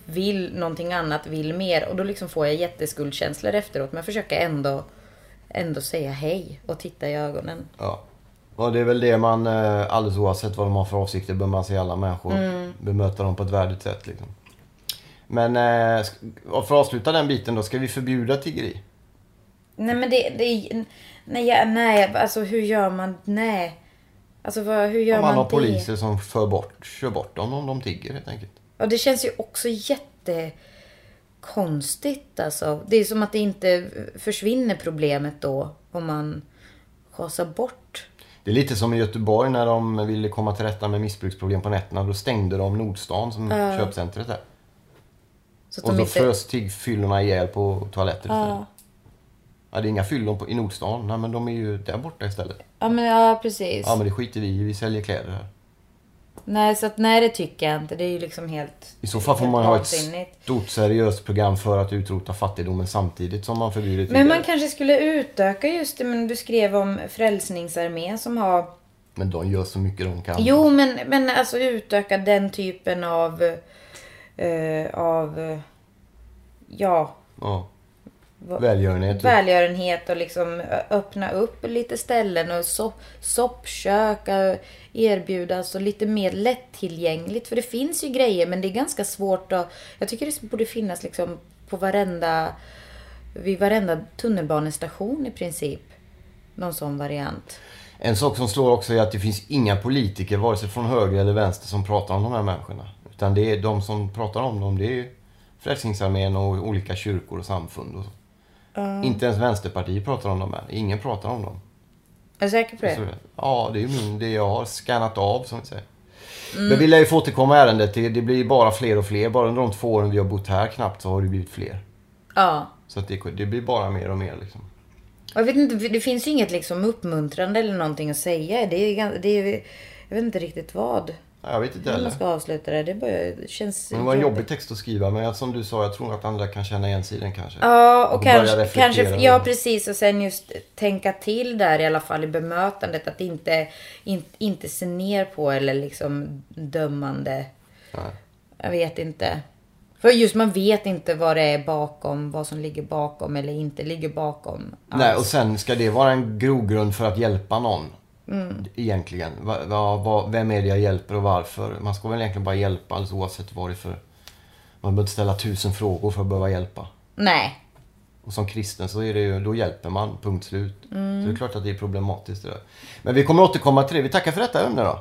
[SPEAKER 3] vill någonting annat, vill mer. Och då liksom får jag jätteskuldkänslor efteråt. Men jag försöker ändå, ändå säga hej och titta i ögonen.
[SPEAKER 2] Ja. Och det är väl det man, eh, alldeles oavsett vad de har för avsikter, bör man se alla människor.
[SPEAKER 3] Mm.
[SPEAKER 2] Bemöta dem på ett värdigt sätt. Liksom. Men eh, sk- och för att avsluta den biten då, ska vi förbjuda tiggeri?
[SPEAKER 3] Nej men det, det är... Nej, jag- nej, alltså hur gör man? Nej. Alltså vad, hur gör
[SPEAKER 2] Om man har
[SPEAKER 3] det?
[SPEAKER 2] poliser som för bort, kör bort dem om de tigger helt enkelt.
[SPEAKER 3] Ja, det känns ju också jättekonstigt alltså. Det är som att det inte försvinner problemet då om man schasar bort.
[SPEAKER 2] Det är lite som i Göteborg när de ville komma till rätta med missbruksproblem på nätterna. Då stängde de Nordstan som köpcentret där.
[SPEAKER 3] Så att
[SPEAKER 2] Och
[SPEAKER 3] de
[SPEAKER 2] då
[SPEAKER 3] inte...
[SPEAKER 2] frös tiggfyllorna ihjäl på toaletter.
[SPEAKER 3] Ja.
[SPEAKER 2] Ja, det är inga fyllon på- i Nordstan. Nej, men de är ju där borta istället.
[SPEAKER 3] Ja, men, ja precis.
[SPEAKER 2] Ja, men det skiter vi i. Vi säljer kläder här.
[SPEAKER 3] Nej, så att, nej, det tycker jag inte. Det är ju liksom helt...
[SPEAKER 2] I så fall får man ha ett
[SPEAKER 3] vansinnigt.
[SPEAKER 2] stort seriöst program för att utrota fattigdomen samtidigt som man förbjuder
[SPEAKER 3] Men man
[SPEAKER 2] tiggare.
[SPEAKER 3] kanske skulle utöka just det, men du skrev om Frälsningsarmén som har...
[SPEAKER 2] Men de gör så mycket de kan.
[SPEAKER 3] Jo, men, men alltså utöka den typen av... eh, av... eh, ja.
[SPEAKER 2] Ja.
[SPEAKER 3] vad-
[SPEAKER 2] Välgörenhet.
[SPEAKER 3] välgörenhet och liksom ö- öppna upp lite ställen och so- soppkök eh, erbjudas och lite mer lättillgängligt. För det finns ju grejer men det är ganska svårt att... Jag tycker det borde finnas liksom på varenda... Vid varenda tunnelbanestation i princip. Någon sån variant.
[SPEAKER 2] En sak som slår också är att det finns inga politiker, vare sig från höger eller vänster, som pratar om de här människorna. Utan det är de som pratar om dem, det är ju Frälsningsarmén och olika kyrkor och samfund och så. Inte ens Vänsterpartiet pratar om dem här. Ingen pratar om dem.
[SPEAKER 3] Är du säker på det?
[SPEAKER 2] Så, Alltså, ja, det är ju min, det jag har skannat av som vi säger.
[SPEAKER 3] Mm.
[SPEAKER 2] Men vi lär ju få återkomma i ärendet. Det, det blir bara fler och fler. Bara under de två åren vi har bott här knappt så har det blivit fler.
[SPEAKER 3] Ja.
[SPEAKER 2] Så att det, det blir bara mer och mer liksom.
[SPEAKER 3] Och jag vet inte, det finns ju inget liksom uppmuntrande eller någonting att säga. Det är, gan- det är, jag vet inte riktigt vad.
[SPEAKER 2] Ja, Jag vet inte
[SPEAKER 3] Hur man
[SPEAKER 2] heller.
[SPEAKER 3] Mm, ska avsluta det. Det, börjar, det känns
[SPEAKER 2] Men det var en jobbig text att skriva. Men jag- som du sa, jag tror att andra kan känna igen sig i den kanske.
[SPEAKER 3] Ja, och
[SPEAKER 2] Och börja
[SPEAKER 3] kanske,
[SPEAKER 2] reflektera
[SPEAKER 3] kanske
[SPEAKER 2] över
[SPEAKER 3] ja
[SPEAKER 2] det.
[SPEAKER 3] precis. Och sen just tänka till där i alla fall i bemötandet. Att inte, in, inte se ner på eller liksom dömande.
[SPEAKER 2] Nej.
[SPEAKER 3] Jag vet inte. För just man vet inte vad det är bakom, vad som ligger bakom eller inte ligger bakom.
[SPEAKER 2] Nej, och sen ska det vara en grogrund för att hjälpa någon. Egentligen. Va, va, va, vem är det jag hjälper och varför? Man ska väl egentligen bara hjälpa alldeles oavsett vad det är för... Man behöver inte ställa tusen frågor för att behöva hjälpa.
[SPEAKER 3] Nej.
[SPEAKER 2] Och som kristen så är det ju, då hjälper man, punkt slut. Så det är klart att det är problematiskt det där. Men vi kommer återkomma till det. Vi tackar för detta ämne då.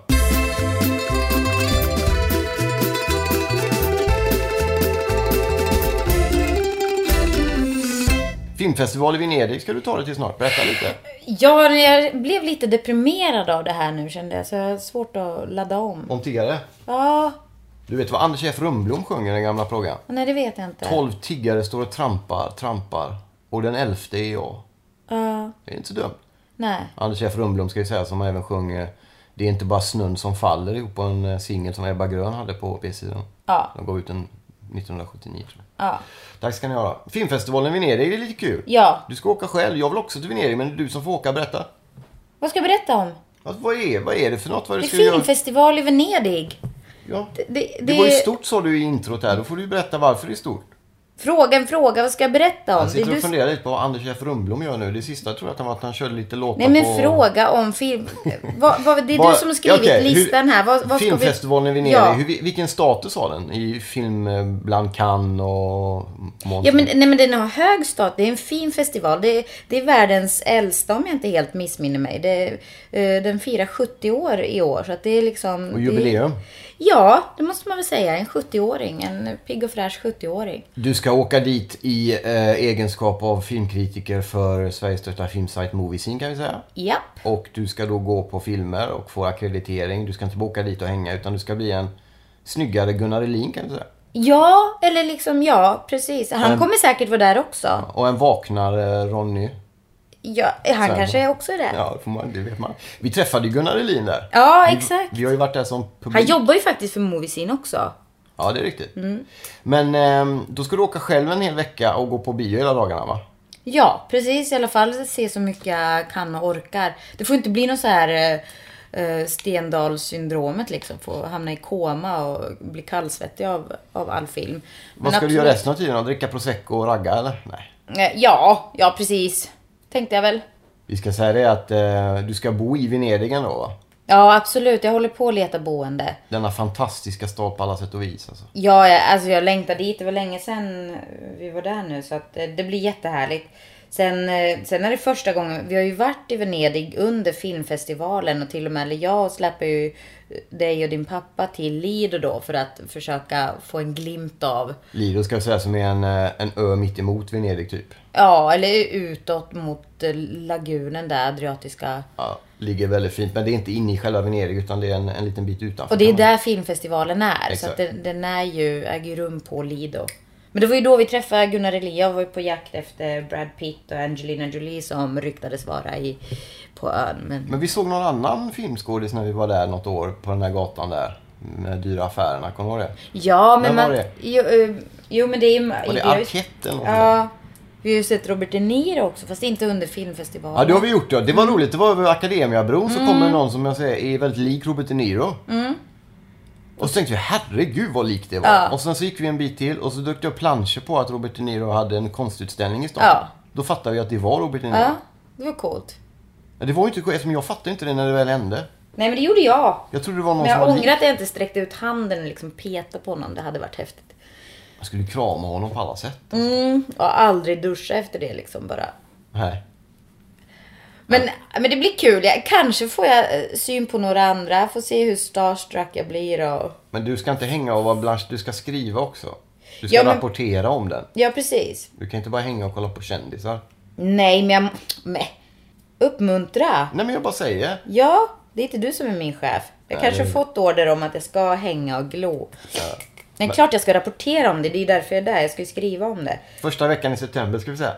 [SPEAKER 2] Filmfestival i Venedig ska du ta dig till snart. Berätta lite.
[SPEAKER 3] Ja, jag blev lite deprimerad av det här nu kände jag. Så jag har svårt att ladda om.
[SPEAKER 2] Om tiggare.
[SPEAKER 3] Ja,
[SPEAKER 2] Du vet vad Anders F Rundblom sjunger i den gamla plågan?
[SPEAKER 3] nej det vet jag inte.
[SPEAKER 2] Tolv tiggare står och trampar, trampar. Och den elfte är jag.
[SPEAKER 3] Ja,
[SPEAKER 2] Det är inte så dumt.
[SPEAKER 3] nej.
[SPEAKER 2] Anders F Rundblom ska ju säga som även sjunger Det är inte bara snön som faller ihop på en eh, singel som Ebba Grön hade på B-sidan.
[SPEAKER 3] Ja.
[SPEAKER 2] De gav ut den 1979 tror jag.
[SPEAKER 3] Ja.
[SPEAKER 2] Tack ska ni ha. Filmfestivalen i Venedig, det är lite kul.
[SPEAKER 3] Ja.
[SPEAKER 2] Du ska åka själv. Jag vill också till Venedig men det är du som får åka. Berätta.
[SPEAKER 3] Vad ska jag berätta om?
[SPEAKER 2] Alltså, vad, är, vad är det för något? Vad är det
[SPEAKER 3] Det är
[SPEAKER 2] ska du göra?
[SPEAKER 3] filmfestival i Venedig.
[SPEAKER 2] Ja.
[SPEAKER 3] Det, det,
[SPEAKER 2] Det var ju stort sa du i introt där. Då får du ju berätta varför det är stort.
[SPEAKER 3] Fråga en fråga, vad ska jag berätta om?
[SPEAKER 2] Jag
[SPEAKER 3] Det är
[SPEAKER 2] sitter
[SPEAKER 3] du...
[SPEAKER 2] och funderar lite på vad Anders F Rundblom gör nu. Det sista tror jag att han var att han körde lite låtar
[SPEAKER 3] Nej men
[SPEAKER 2] på...
[SPEAKER 3] fråga om film... vad, vad, det är
[SPEAKER 2] Vad-
[SPEAKER 3] du som har skrivit
[SPEAKER 2] okej, hur-
[SPEAKER 3] listan här. Vad, vad ska vi...
[SPEAKER 2] Filmfestivalen i Venedig,
[SPEAKER 3] Ja.
[SPEAKER 2] hur, vi- vilken status har den i film eh, bland Cannes och Monty?
[SPEAKER 3] Ja men, nej, men den har hög stat. Det är en fin festival. Det är, det är världens äldsta om jag inte helt missminner mig. Det, eh, den firar 70 år i år. Så att det är liksom...
[SPEAKER 2] Och jubileum.
[SPEAKER 3] Det, ja, det måste man väl säga. En 70-åring. En pigg och fräsch 70-åring.
[SPEAKER 2] Du ska åka dit i eh, egenskap av filmkritiker för Sveriges största filmsajt Moviescene kan vi säga.
[SPEAKER 3] Japp.
[SPEAKER 2] Och du ska då gå på filmer och få akkreditering. Du ska inte bara åka dit och hänga utan du ska bli en snyggare Gunnar Elin kan vi säga.
[SPEAKER 3] Ja, eller liksom ja, precis. Han kommer säkert vara där också.
[SPEAKER 2] Och en vaknare Ronny.
[SPEAKER 3] Ja, han
[SPEAKER 2] Sen-
[SPEAKER 3] kanske också är där.
[SPEAKER 2] Ja, det får man, det vet man. Vi träffade ju Gunnar Elin där.
[SPEAKER 3] Ja, exakt.
[SPEAKER 2] Vi har ju varit där som
[SPEAKER 3] Han
[SPEAKER 2] publik.
[SPEAKER 3] jobbar ju faktiskt för Moviesin också.
[SPEAKER 2] Ja, det är riktigt.
[SPEAKER 3] Mm.
[SPEAKER 2] Men ehm, då ska du åka själv en hel vecka och gå på bio hela dagarna va?
[SPEAKER 3] Ja, precis. I alla fall se så mycket jag kan och orkar. Det får inte bli något så här uh, Stendalssyndromet liksom. Få hamna i koma och bli kallsvettig av, av all film.
[SPEAKER 2] Vad ska du göra resten av tiden? Dricka prosecco och ragga eller? Nej.
[SPEAKER 3] resten? Eh, Ja, ja precis. Tänkte jag väl.
[SPEAKER 2] Vi ska säga det att eh, du ska bo i Venedig ändå va?
[SPEAKER 3] Ja, absolut. Jag håller på att leta boende.
[SPEAKER 2] Denna fantastiska stad på alla sätt och vis alltså.
[SPEAKER 3] Ja, jag, alltså jag längtar dit. Det var länge sedan vi var där nu så att eh, det blir jättehärligt. Sen, eh, sen är det första gången, vi har ju varit i Venedig under filmfestivalen och till och med, eller jag släpper ju eh, dig och din pappa till Lido då för att försöka få en glimt av,
[SPEAKER 2] Lido ska jag säga som är en, eh, en ö mitt emot Venedig typ.
[SPEAKER 3] ja eller utåt mot eh, lagunen där, Adriatiska.
[SPEAKER 2] Ja, ligger väldigt fint men det är inte inne i själva Venedig utan det är en, en liten bit utanför.
[SPEAKER 3] Och det är
[SPEAKER 2] kan man-
[SPEAKER 3] där filmfestivalen är, så
[SPEAKER 2] Exakt.
[SPEAKER 3] att den, den är ju, äger ju rum på Lido. Men det var ju då vi träffade Gunnar Elia och var ju på jakt efter Brad Pitt och Angelina Jolie som ryktades vara i, på ön. Men
[SPEAKER 2] Men vi såg någon annan filmskådis när vi var där något år på den där gatan där. Med dyra affärerna, kommer du ihåg det?
[SPEAKER 3] ja,
[SPEAKER 2] Vem
[SPEAKER 3] men man...
[SPEAKER 2] var det?
[SPEAKER 3] Jo, eh, jo, men det är ju...
[SPEAKER 2] Var
[SPEAKER 3] vi
[SPEAKER 2] det
[SPEAKER 3] har ju-
[SPEAKER 2] Arquette eller något sånt där?
[SPEAKER 3] Ja. Vi har ju sett Robert De Niro också, fast inte under filmfestivalen.
[SPEAKER 2] Ja, det har vi gjort. Ja. Det var roligt. Det var över Akademiabron så
[SPEAKER 3] Mm.
[SPEAKER 2] kommer någon som jag säger är väldigt lik Robert De Niro. Och så tänkte vi, herregud vad lik det var.
[SPEAKER 3] Ja.
[SPEAKER 2] Och sen så gick vi en bit till och så dök det upp planscher på att Robert De Niro hade en konstutställning i stan.
[SPEAKER 3] Ja.
[SPEAKER 2] Då fattade vi att det var Robert De Niro.
[SPEAKER 3] Ja, det var coolt.
[SPEAKER 2] Ja, Det var ju inte eftersom jag fattade inte det när det väl hände.
[SPEAKER 3] Nej, men det gjorde jag.
[SPEAKER 2] Jag trodde det var någon
[SPEAKER 3] Men jag
[SPEAKER 2] som var lik.
[SPEAKER 3] ångrar att jag inte sträckte ut handen och liksom petade på honom. Det hade varit häftigt.
[SPEAKER 2] Jag skulle krama honom på alla sätt.
[SPEAKER 3] Mm, och aldrig duscha efter det liksom bara.
[SPEAKER 2] Nej.
[SPEAKER 3] Men, men det blir kul. Jag, kanske får jag eh, syn på några andra. Får se hur starstruck jag blir och...
[SPEAKER 2] Men du ska inte hänga och vara blansch, du ska skriva också. Du ska
[SPEAKER 3] Ja, men-
[SPEAKER 2] rapportera om den.
[SPEAKER 3] Ja, precis.
[SPEAKER 2] Du kan inte bara hänga och kolla på kändisar.
[SPEAKER 3] Nej, men jag... Meh. Uppmuntra.
[SPEAKER 2] Nej men jag bara säger.
[SPEAKER 3] Ja, det är inte du som är min chef. Jag
[SPEAKER 2] Nej,
[SPEAKER 3] kanske
[SPEAKER 2] det-
[SPEAKER 3] fått order om att jag ska hänga och glo. Men klart jag ska rapportera om det. Det är ju därför jag är där. Jag ska ju skriva om det.
[SPEAKER 2] Första veckan i september ska vi säga.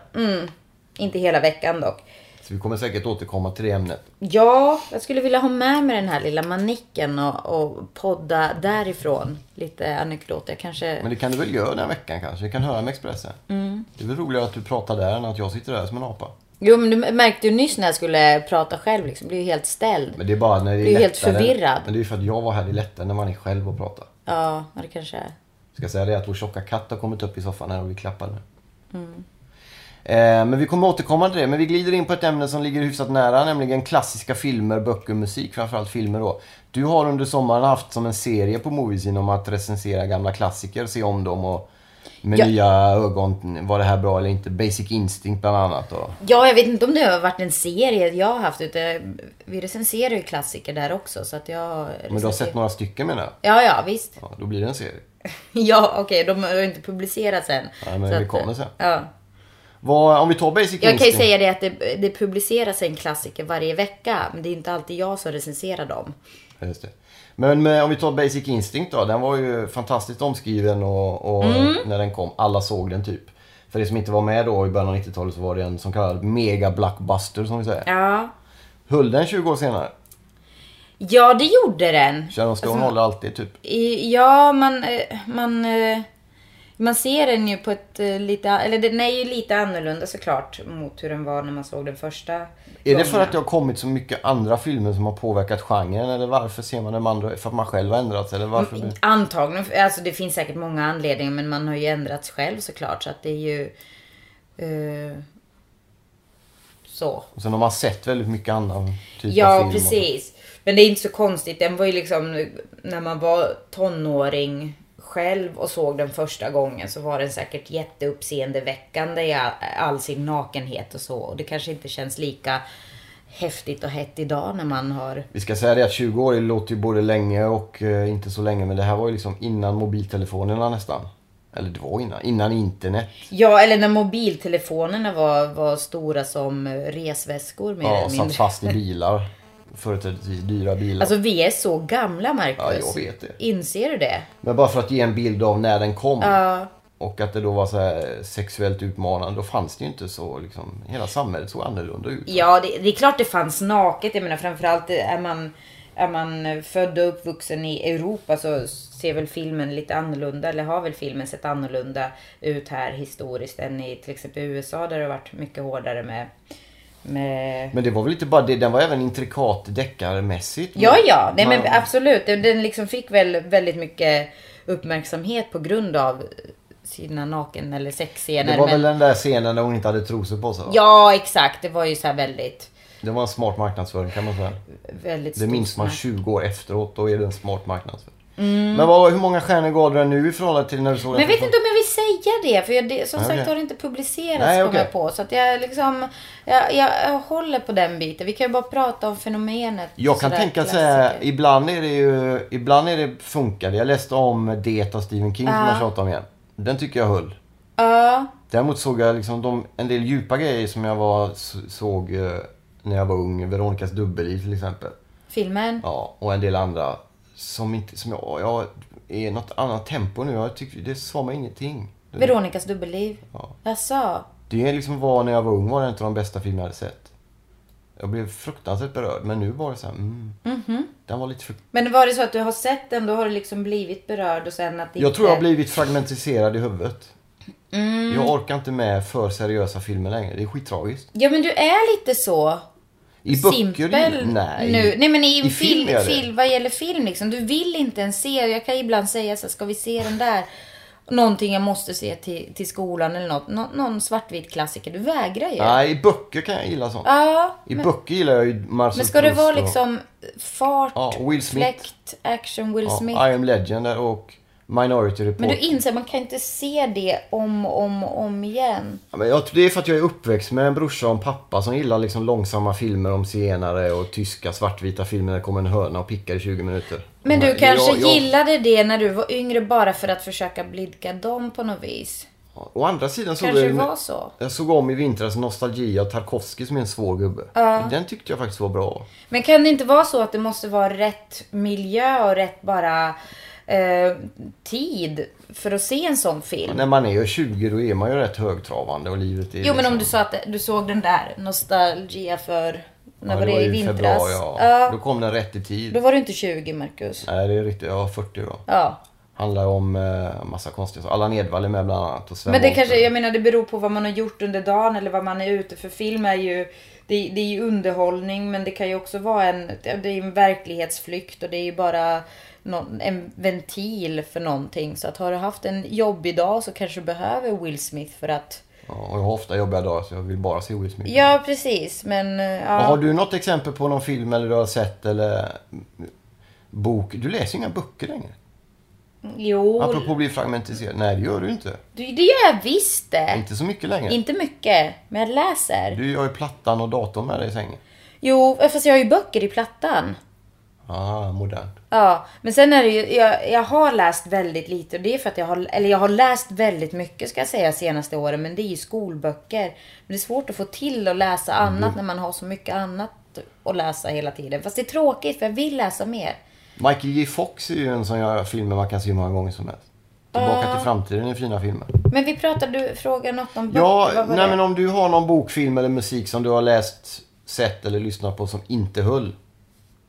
[SPEAKER 3] Inte hela veckan dock.
[SPEAKER 2] Så vi kommer säkert återkomma till det ämnet.
[SPEAKER 3] Ja, jag skulle vilja ha med mig den här lilla manicken och, och podda därifrån. Lite anekdoter kanske.
[SPEAKER 2] Men det kan du väl göra den veckan kanske? Vi kan höra med Expressen.
[SPEAKER 3] Mm.
[SPEAKER 2] Det är väl roligare att du pratar där än att jag sitter där som en apa.
[SPEAKER 3] Jo, men du märkte ju nyss när jag skulle prata själv liksom. Blev ju helt ställd.
[SPEAKER 2] Men det är bara när det är
[SPEAKER 3] Du är helt
[SPEAKER 2] lättare-
[SPEAKER 3] förvirrad.
[SPEAKER 2] Men det är ju för att jag var här. Det är lättare när man är själv och pratar.
[SPEAKER 3] Ja, ja, det kanske är.
[SPEAKER 2] Ska jag säga det att vår tjocka katt har kommit upp i soffan här och vi klappar nu.
[SPEAKER 3] Mm.
[SPEAKER 2] Eh, Men vi kommer återkomma till det. Men vi glider in på ett ämne som ligger hyfsat nära, nämligen klassiska filmer, böcker, musik. Framförallt filmer då. Du har under sommaren haft som en serie på Moviesin om att recensera gamla klassiker, se om dem och med
[SPEAKER 3] Ja.
[SPEAKER 2] nya ögon, var det här bra eller inte? Basic Instinct bland annat. Då.
[SPEAKER 3] Ja, jag vet inte om det har varit en serie jag har haft. Utan vi recenserar ju klassiker där också. Så att jag...
[SPEAKER 2] Men du har sett några stycken menar jag?
[SPEAKER 3] Ja, ja, visst.
[SPEAKER 2] Ja, då blir det en serie.
[SPEAKER 3] Ja, okej, de har ju inte publicerats än.
[SPEAKER 2] Nej, men
[SPEAKER 3] Så
[SPEAKER 2] det
[SPEAKER 3] att-
[SPEAKER 2] kommer sen.
[SPEAKER 3] Ja.
[SPEAKER 2] Vad, om vi tar Basic
[SPEAKER 3] Jag kan ju
[SPEAKER 2] Instinct.
[SPEAKER 3] säga det att det, det publiceras en klassiker varje vecka. Men det är inte alltid jag som recenserar dem.
[SPEAKER 2] Ja, Just det. Men med, om vi tar Basic Instinct då. Den var ju fantastiskt omskriven och, och
[SPEAKER 3] Mm.
[SPEAKER 2] när den kom. Alla såg den typ. För det som inte var med då i början av 90-talet så var det en så kallad mega blockbuster som vi säger.
[SPEAKER 3] Ja.
[SPEAKER 2] Höll den 20 år senare?
[SPEAKER 3] Ja, det gjorde den.
[SPEAKER 2] Sharon Stone håller alltid typ.
[SPEAKER 3] I- Ja, man, eh, man, eh, man ser den ju på ett eh, lite... Eller den är ju lite annorlunda såklart mot hur den var när man såg den första.
[SPEAKER 2] Är det för att det har kommit så mycket andra filmer som har påverkat genren? Eller varför ser man de andra? För att man själv har ändrats? Eller varför?
[SPEAKER 3] Mm.
[SPEAKER 2] blir-
[SPEAKER 3] Antagligen. för- Alltså det finns säkert många anledningar men man har ju ändrats själv såklart. Så att det är ju... eh, så.
[SPEAKER 2] Och sen har man sett väldigt mycket annan typ av
[SPEAKER 3] Ja,
[SPEAKER 2] film.
[SPEAKER 3] precis. Men det är inte så konstigt. Den var ju liksom när man var tonåring själv och såg den första gången så var den säkert jätteuppseendeväckande i all, all sin nakenhet och så. Och det kanske inte känns lika häftigt och hett idag när man har...
[SPEAKER 2] Vi ska säga det att 20 år det låter ju både länge och eh, inte så länge. Men det här var ju liksom innan mobiltelefonerna nästan. Eller det var innan. Innan internet.
[SPEAKER 3] Ja, eller när mobiltelefonerna var, var stora som eh, resväskor mer
[SPEAKER 2] Ja,
[SPEAKER 3] eller
[SPEAKER 2] satt
[SPEAKER 3] mindre.
[SPEAKER 2] fast i bilar. Företrädesvis dyra bilar.
[SPEAKER 3] Alltså vi är så gamla Marcus.
[SPEAKER 2] ja, jag vet det.
[SPEAKER 3] Inser du det?
[SPEAKER 2] Men bara för att ge en bild av när den kom.
[SPEAKER 3] Ja.
[SPEAKER 2] Och att det då var så här sexuellt utmanande. Då fanns det ju inte så liksom. Hela samhället såg annorlunda ut.
[SPEAKER 3] Ja, det, det är klart det fanns naket. Jag menar framförallt är man, är man född och uppvuxen i Europa så ser väl filmen lite annorlunda, eller har väl filmen sett annorlunda ut här historiskt än i till exempel USA där det har varit mycket hårdare med... med...
[SPEAKER 2] Men det var väl inte bara det. Den var även intrikat deckarmässigt.
[SPEAKER 3] Ja, ja, nej men
[SPEAKER 2] Man-
[SPEAKER 3] absolut. Den- Den liksom fick väl väldigt mycket uppmärksamhet på grund av sina naken eller sexscener.
[SPEAKER 2] Det var
[SPEAKER 3] men...
[SPEAKER 2] väl den där scenen där hon inte hade trosor på sig? va?
[SPEAKER 3] Ja, exakt. Det var ju så här väldigt...
[SPEAKER 2] Det var en smart marknadsföring kan man säga.
[SPEAKER 3] väldigt
[SPEAKER 2] Det minns man
[SPEAKER 3] storsnack.
[SPEAKER 2] 20 år efteråt. Då är det en smart marknadsföring. Men vad, hur många stjärnor gav du den nu i förhållande till när du såg
[SPEAKER 3] Mm. Men jag
[SPEAKER 2] den?
[SPEAKER 3] vet inte om jag vill säga det, för jag, det, som
[SPEAKER 2] Nej,
[SPEAKER 3] sagt
[SPEAKER 2] okej.
[SPEAKER 3] har det inte publicerats
[SPEAKER 2] Nej,
[SPEAKER 3] kom
[SPEAKER 2] okej.
[SPEAKER 3] jag på. Så att jag liksom, jag, jag, jag håller på den biten. Vi kan ju bara prata om fenomenet.
[SPEAKER 2] Jag kan
[SPEAKER 3] sådär,
[SPEAKER 2] tänka så
[SPEAKER 3] klassiker.
[SPEAKER 2] här, ibland är det ju, ibland är det funkar det. Jag läste om Det av Stephen King som jag tjatade om igen. Den tycker jag höll.
[SPEAKER 3] Ja,
[SPEAKER 2] Däremot såg jag liksom de, en del djupa grejer som jag var, s- såg eh, när jag var ung. Veronicas dubbelliv till exempel.
[SPEAKER 3] filmen.
[SPEAKER 2] Ja, och en del andra som inte, som jag, jag är i något annat tempo nu. Jag tycker, det sa mig ingenting.
[SPEAKER 3] Veronicas dubbelliv?
[SPEAKER 2] Ja.
[SPEAKER 3] Jaså?
[SPEAKER 2] Det liksom var när jag var ung var det en av de bästa filmer jag hade sett. Jag blev fruktansvärt berörd men nu var det så här, mm.
[SPEAKER 3] Mhm.
[SPEAKER 2] Den var lite frukt...
[SPEAKER 3] Men var det så att du har sett den, då har du liksom blivit berörd och sen att det
[SPEAKER 2] Jag
[SPEAKER 3] inte-
[SPEAKER 2] tror jag har blivit fragmentiserad i huvudet.
[SPEAKER 3] Mm.
[SPEAKER 2] Jag orkar inte med för seriösa filmer längre. Det är skittragiskt.
[SPEAKER 3] Ja men du är lite så.
[SPEAKER 2] I
[SPEAKER 3] simpel
[SPEAKER 2] böcker? Nej.
[SPEAKER 3] nu. Nej men i,
[SPEAKER 2] I
[SPEAKER 3] film,
[SPEAKER 2] film är det.
[SPEAKER 3] film, vad gäller film liksom. Du vill inte ens se. Jag kan ibland säga så här, ska vi se den där? Någonting jag måste se till, till skolan eller något. Nå, någon svartvit klassiker. Du vägrar ju.
[SPEAKER 2] Nej, i böcker kan jag gilla sånt.
[SPEAKER 3] Ja.
[SPEAKER 2] I böcker gillar jag ju Marcel
[SPEAKER 3] Men ska det
[SPEAKER 2] Proust
[SPEAKER 3] vara
[SPEAKER 2] och-
[SPEAKER 3] liksom fart,
[SPEAKER 2] Ja, Will Smith.
[SPEAKER 3] fläkt, action, Will
[SPEAKER 2] ja,
[SPEAKER 3] Smith?
[SPEAKER 2] I am Legend där och Minority Report.
[SPEAKER 3] Men du inser, man kan inte se det om och om, och om igen.
[SPEAKER 2] Ja, men jag, det är för att jag är uppväxt med en brorsa och en pappa som gillar liksom långsamma filmer om zigenare och tyska svartvita filmer där det kommer en höna och pickar i 20 minuter.
[SPEAKER 3] Men du
[SPEAKER 2] jag-
[SPEAKER 3] kanske
[SPEAKER 2] jag-
[SPEAKER 3] gillade det när du var yngre bara för att försöka blidka dem på något vis.
[SPEAKER 2] Å andra sidan såg
[SPEAKER 3] Kanske
[SPEAKER 2] jag,
[SPEAKER 3] det
[SPEAKER 2] ju-
[SPEAKER 3] var så.
[SPEAKER 2] jag såg om i vintras Nostalgia och Tarkovsky som är en svår gubbe. Den tyckte jag faktiskt var bra.
[SPEAKER 3] Men kan det inte vara så att det måste vara rätt miljö och rätt bara eh, tid för att se en sån film?
[SPEAKER 2] När man är 20 då är man ju rätt högtravande och livet är
[SPEAKER 3] Jo men om
[SPEAKER 2] liksom-
[SPEAKER 3] du sa att du såg den där, Nostalgia för, när
[SPEAKER 2] Ja,
[SPEAKER 3] var det,
[SPEAKER 2] var
[SPEAKER 3] i
[SPEAKER 2] ju
[SPEAKER 3] vintras?
[SPEAKER 2] Februari, ja.
[SPEAKER 3] Ja.
[SPEAKER 2] Då kom den rätt i tid.
[SPEAKER 3] Då var du inte 20 Marcus.
[SPEAKER 2] Nej, det är riktigt. Jag var 40 då.
[SPEAKER 3] Ja.
[SPEAKER 2] Handlar om eh, massa konstiga saker. Allan Edwall är med bland annat. Och Sven
[SPEAKER 3] Men det
[SPEAKER 2] Wollter.
[SPEAKER 3] kanske, jag menar det beror på vad man har gjort under dagen eller vad man är ute för. Film är ju, det, det är ju underhållning men det kan ju också vara en, det är ju en verklighetsflykt och det är ju bara nå- en ventil för någonting. Så att har du haft en jobbig dag så kanske du behöver Will Smith för att...
[SPEAKER 2] Ja, och jag har ofta jobbiga dagar så jag vill bara se Will Smith.
[SPEAKER 3] Ja precis men... eh,
[SPEAKER 2] Och
[SPEAKER 3] Ja.
[SPEAKER 2] Mm. Har du något exempel på någon film eller du har sett eller mm, bok? Du läser ju inga böcker längre.
[SPEAKER 3] Jo,
[SPEAKER 2] Apropå att bli fragmentiserad. Nej, det gör du inte.
[SPEAKER 3] du- det gör jag visst det.
[SPEAKER 2] Inte så mycket längre.
[SPEAKER 3] Inte mycket, men jag läser.
[SPEAKER 2] Du har ju plattan och datorn med dig i sängen.
[SPEAKER 3] Jo, fast jag har ju böcker i plattan.
[SPEAKER 2] Ah, modernt.
[SPEAKER 3] Ja, men sen är det ju, jag, jag har läst väldigt lite och det är för att jag har, eller jag har läst väldigt mycket ska jag säga senaste åren, men det är ju skolböcker. Men det är svårt att få till att läsa
[SPEAKER 2] Mm.
[SPEAKER 3] annat när man har så mycket annat att läsa hela tiden. Fast det är tråkigt för jag vill läsa mer.
[SPEAKER 2] Michael J Fox är ju en sån jag filmer man kan se hur många gånger som helst. Tillbaka till framtiden är fina filmer.
[SPEAKER 3] Men vi pratade, du frågade något om böcker,
[SPEAKER 2] Ja,
[SPEAKER 3] vad var
[SPEAKER 2] nej
[SPEAKER 3] det?
[SPEAKER 2] men om du har någon bokfilm eller musik som du har läst, sett eller lyssnat på som inte höll.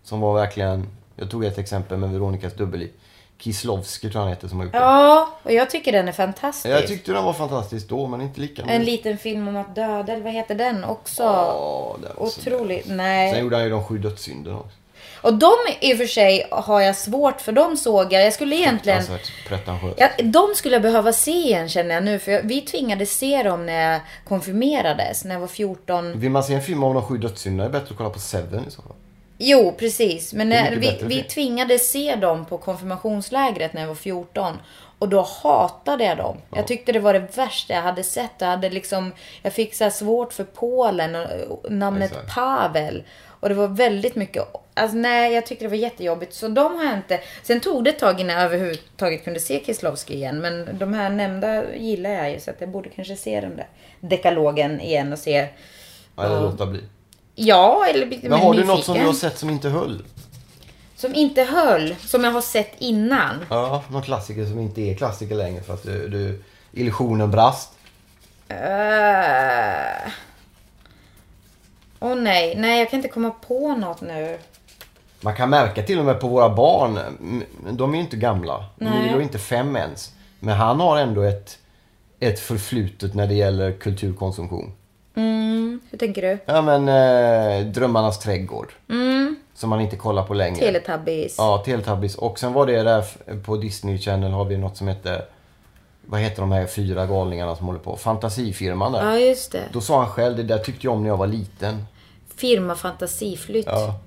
[SPEAKER 2] Som var verkligen, jag tog ett exempel med Veronikas dubbelliv. Kislovski tror jag han heter som har gjort den.
[SPEAKER 3] Ja, och jag tycker den är fantastisk.
[SPEAKER 2] Jag tyckte den var fantastisk då men inte lika nu.
[SPEAKER 3] En liten film om att döda, eller vad heter den också?
[SPEAKER 2] Ja, den var så bra.
[SPEAKER 3] Otroligt. Nej.
[SPEAKER 2] Sen gjorde han ju de sju dödssynderna också.
[SPEAKER 3] Och de i och för sig har jag svårt för, de såg jag. Jag skulle egentligen...
[SPEAKER 2] Alltså, pretentiöst.
[SPEAKER 3] Ja, de skulle jag behöva se igen känner jag nu. För jag, vi tvingades se dem när jag konfirmerades, när jag var 14.
[SPEAKER 2] Vill man se en film om de sju dödssynderna är det bättre att kolla på Seven i så fall.
[SPEAKER 3] Jo, precis. Men
[SPEAKER 2] Det är
[SPEAKER 3] när,
[SPEAKER 2] mycket
[SPEAKER 3] vi,
[SPEAKER 2] bättre
[SPEAKER 3] vi
[SPEAKER 2] film.
[SPEAKER 3] tvingades se dem på konfirmationslägret när jag var 14. Och då hatade jag dem. Jag tyckte det var det värsta jag hade sett. Jag, hade liksom, jag fick så här svårt för Polen och och namnet
[SPEAKER 2] Exakt.
[SPEAKER 3] Pavel. Och det var väldigt mycket... Alltså nej, jag tyckte det var jättejobbigt. Så de har jag inte... Sen tog det ett tag innan jag överhuvudtaget kunde se Kieslowski igen. Men de här nämnda gillar jag ju. Så att jag borde kanske se den där dekalogen igen och se...
[SPEAKER 2] Ja, Eller låta bli.
[SPEAKER 3] Ja, eller bli
[SPEAKER 2] Men har du något som du
[SPEAKER 3] nyfiken.
[SPEAKER 2] har sett som inte höll?
[SPEAKER 3] Som inte höll, som jag har sett innan.
[SPEAKER 2] Ja, någon klassiker som inte är klassiker längre för att du, du illusionen brast.
[SPEAKER 3] Eh. Åh nej, nej jag kan inte komma på något nu.
[SPEAKER 2] Man kan märka till och med på våra barn, m- de är ju inte gamla.
[SPEAKER 3] Nej.
[SPEAKER 2] Milo är inte fem ens. Men han har ändå ett, ett förflutet när det gäller kulturkonsumtion.
[SPEAKER 3] Mm, hur tänker du?
[SPEAKER 2] Ja men eh, Drömmarnas trädgård. Som man inte kollar på längre.
[SPEAKER 3] Mm. Teletubbies.
[SPEAKER 2] Ja, Teletubbies. Och sen var det där f- på Disney Channel har vi något som heter, vad heter de här fyra galningarna som håller på? Fantasifirman där.
[SPEAKER 3] Ja, just det.
[SPEAKER 2] Då sa han själv, det där tyckte jag om när jag var liten.
[SPEAKER 3] Firma Fantasiflytt.
[SPEAKER 2] Ja.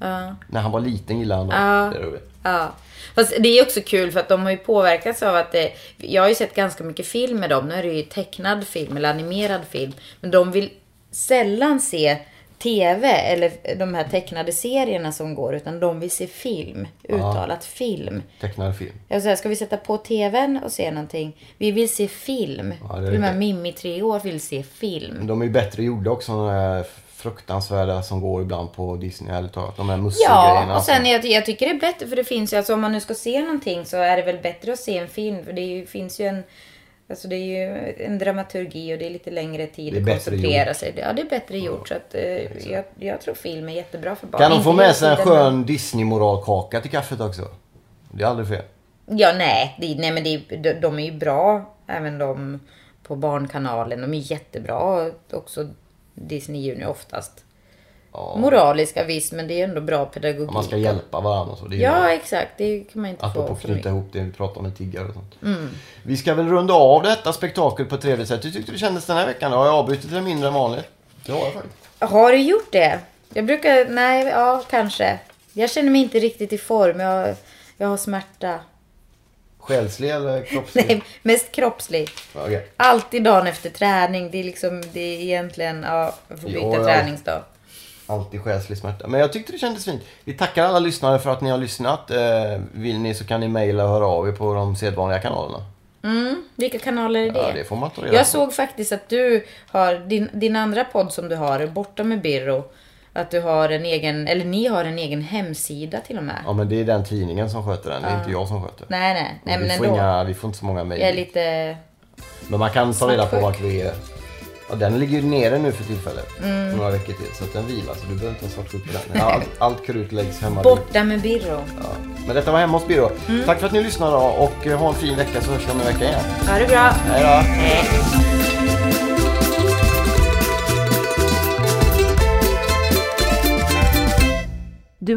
[SPEAKER 3] Ja.
[SPEAKER 2] När han var liten gillade han dem.
[SPEAKER 3] Ja.
[SPEAKER 2] Det är roligt.
[SPEAKER 3] Ja. Fast det är också kul för att de har ju påverkats av att det, Jag har ju sett ganska mycket film med dem. Nu är det ju tecknad film eller animerad film. Men de vill sällan se TV eller de här tecknade serierna som går. Utan de vill se film. Uttalat film.
[SPEAKER 2] Tecknade film.
[SPEAKER 3] Jag säger, ska vi sätta på TVn och se någonting? Vi vill se film.
[SPEAKER 2] Ja, det är
[SPEAKER 3] Till och med
[SPEAKER 2] riktigt.
[SPEAKER 3] Mimmi, tre år, vill se film.
[SPEAKER 2] De är ju bättre gjorda också, de här fruktansvärda som går ibland på Disney, ärligt talat. De här
[SPEAKER 3] Ja,
[SPEAKER 2] musselgrejerna.
[SPEAKER 3] och sen
[SPEAKER 2] som-
[SPEAKER 3] jag, jag tycker det är bättre för det finns ju, alltså om man nu ska se någonting så är det väl bättre att se en film för det är ju, finns ju en Alltså det är ju en dramaturgi och det är lite längre tid
[SPEAKER 2] Det är
[SPEAKER 3] att
[SPEAKER 2] bättre
[SPEAKER 3] koncentrera
[SPEAKER 2] gjort.
[SPEAKER 3] sig. Ja, det är bättre gjort. Så att, eh, jag, jag tror film är jättebra för barn.
[SPEAKER 2] Kan de få
[SPEAKER 3] Inte
[SPEAKER 2] med
[SPEAKER 3] hela
[SPEAKER 2] sig en
[SPEAKER 3] tiden, men-
[SPEAKER 2] skön Disney-moralkaka till kaffet också? Det är aldrig fel.
[SPEAKER 3] Ja, nej. Det, nej men det, de, de är ju bra, även de på Barnkanalen. De är jättebra också, Disney Junior oftast.
[SPEAKER 2] Ja,
[SPEAKER 3] Moraliska visst, men det är ändå bra
[SPEAKER 2] om
[SPEAKER 3] pedagogik.
[SPEAKER 2] man ska hjälpa varandra och så. Det är
[SPEAKER 3] Ja, exakt. Det kan man inte
[SPEAKER 2] Apropå
[SPEAKER 3] få
[SPEAKER 2] att
[SPEAKER 3] för
[SPEAKER 2] knyta
[SPEAKER 3] mycket.
[SPEAKER 2] ihop det vi pratade om med tiggare och sånt.
[SPEAKER 3] Mm.
[SPEAKER 2] Vi ska väl runda av detta spektakel på ett trevligt sätt. Hur tyckte du kändes den här veckan? Har jag avbrutit det mindre än vanligt? Det har jag faktiskt.
[SPEAKER 3] Har du gjort det? Jag brukar... Nej, ja, kanske. Jag känner mig inte riktigt i form. Jag, jag har smärta.
[SPEAKER 2] Själslig eller kroppslig?
[SPEAKER 3] Nej, mest kroppslig.
[SPEAKER 2] Ja, okej.
[SPEAKER 3] Alltid dagen efter träning. Det är liksom... Det är egentligen... Ja, jag får byta
[SPEAKER 2] Ja, ja.
[SPEAKER 3] träningsdag.
[SPEAKER 2] Alltid själslig smärta. Men jag tyckte det kändes fint. Vi tackar alla lyssnare för att ni har lyssnat. Eh, vill ni så kan ni mejla och höra av er på de sedvanliga kanalerna.
[SPEAKER 3] Mm, vilka kanaler är det?
[SPEAKER 2] Ja, det får man ta reda
[SPEAKER 3] Jag
[SPEAKER 2] på.
[SPEAKER 3] såg faktiskt att du har din, din andra podd som du har, Borta med Birro. Att du har en egen, eller ni har en egen hemsida till och med.
[SPEAKER 2] Ja, men det är den tidningen som sköter den. Det är inte jag som sköter.
[SPEAKER 3] Nej, nej, nej
[SPEAKER 2] vi,
[SPEAKER 3] men
[SPEAKER 2] får
[SPEAKER 3] ändå.
[SPEAKER 2] inga, vi får inte så många
[SPEAKER 3] Jag är
[SPEAKER 2] mejl.
[SPEAKER 3] lite...
[SPEAKER 2] Men man kan ta reda på vart
[SPEAKER 3] Svartsjuk. Mm.
[SPEAKER 2] vi är. Ja, den ligger ju nere nu för tillfället. Några veckor till. Så att den vilar. Så du behöver inte vara svartsjuk på den. Allt, allt krut läggs hemma.
[SPEAKER 3] Borta med Birro.
[SPEAKER 2] Ja. Men detta var hemma hos Birro.
[SPEAKER 3] Mm.
[SPEAKER 2] Tack för att ni lyssnade då, och eh, ha en fin vecka så hörs vi om en vecka igen.
[SPEAKER 3] Ha det bra.
[SPEAKER 2] Hej då!
[SPEAKER 1] Du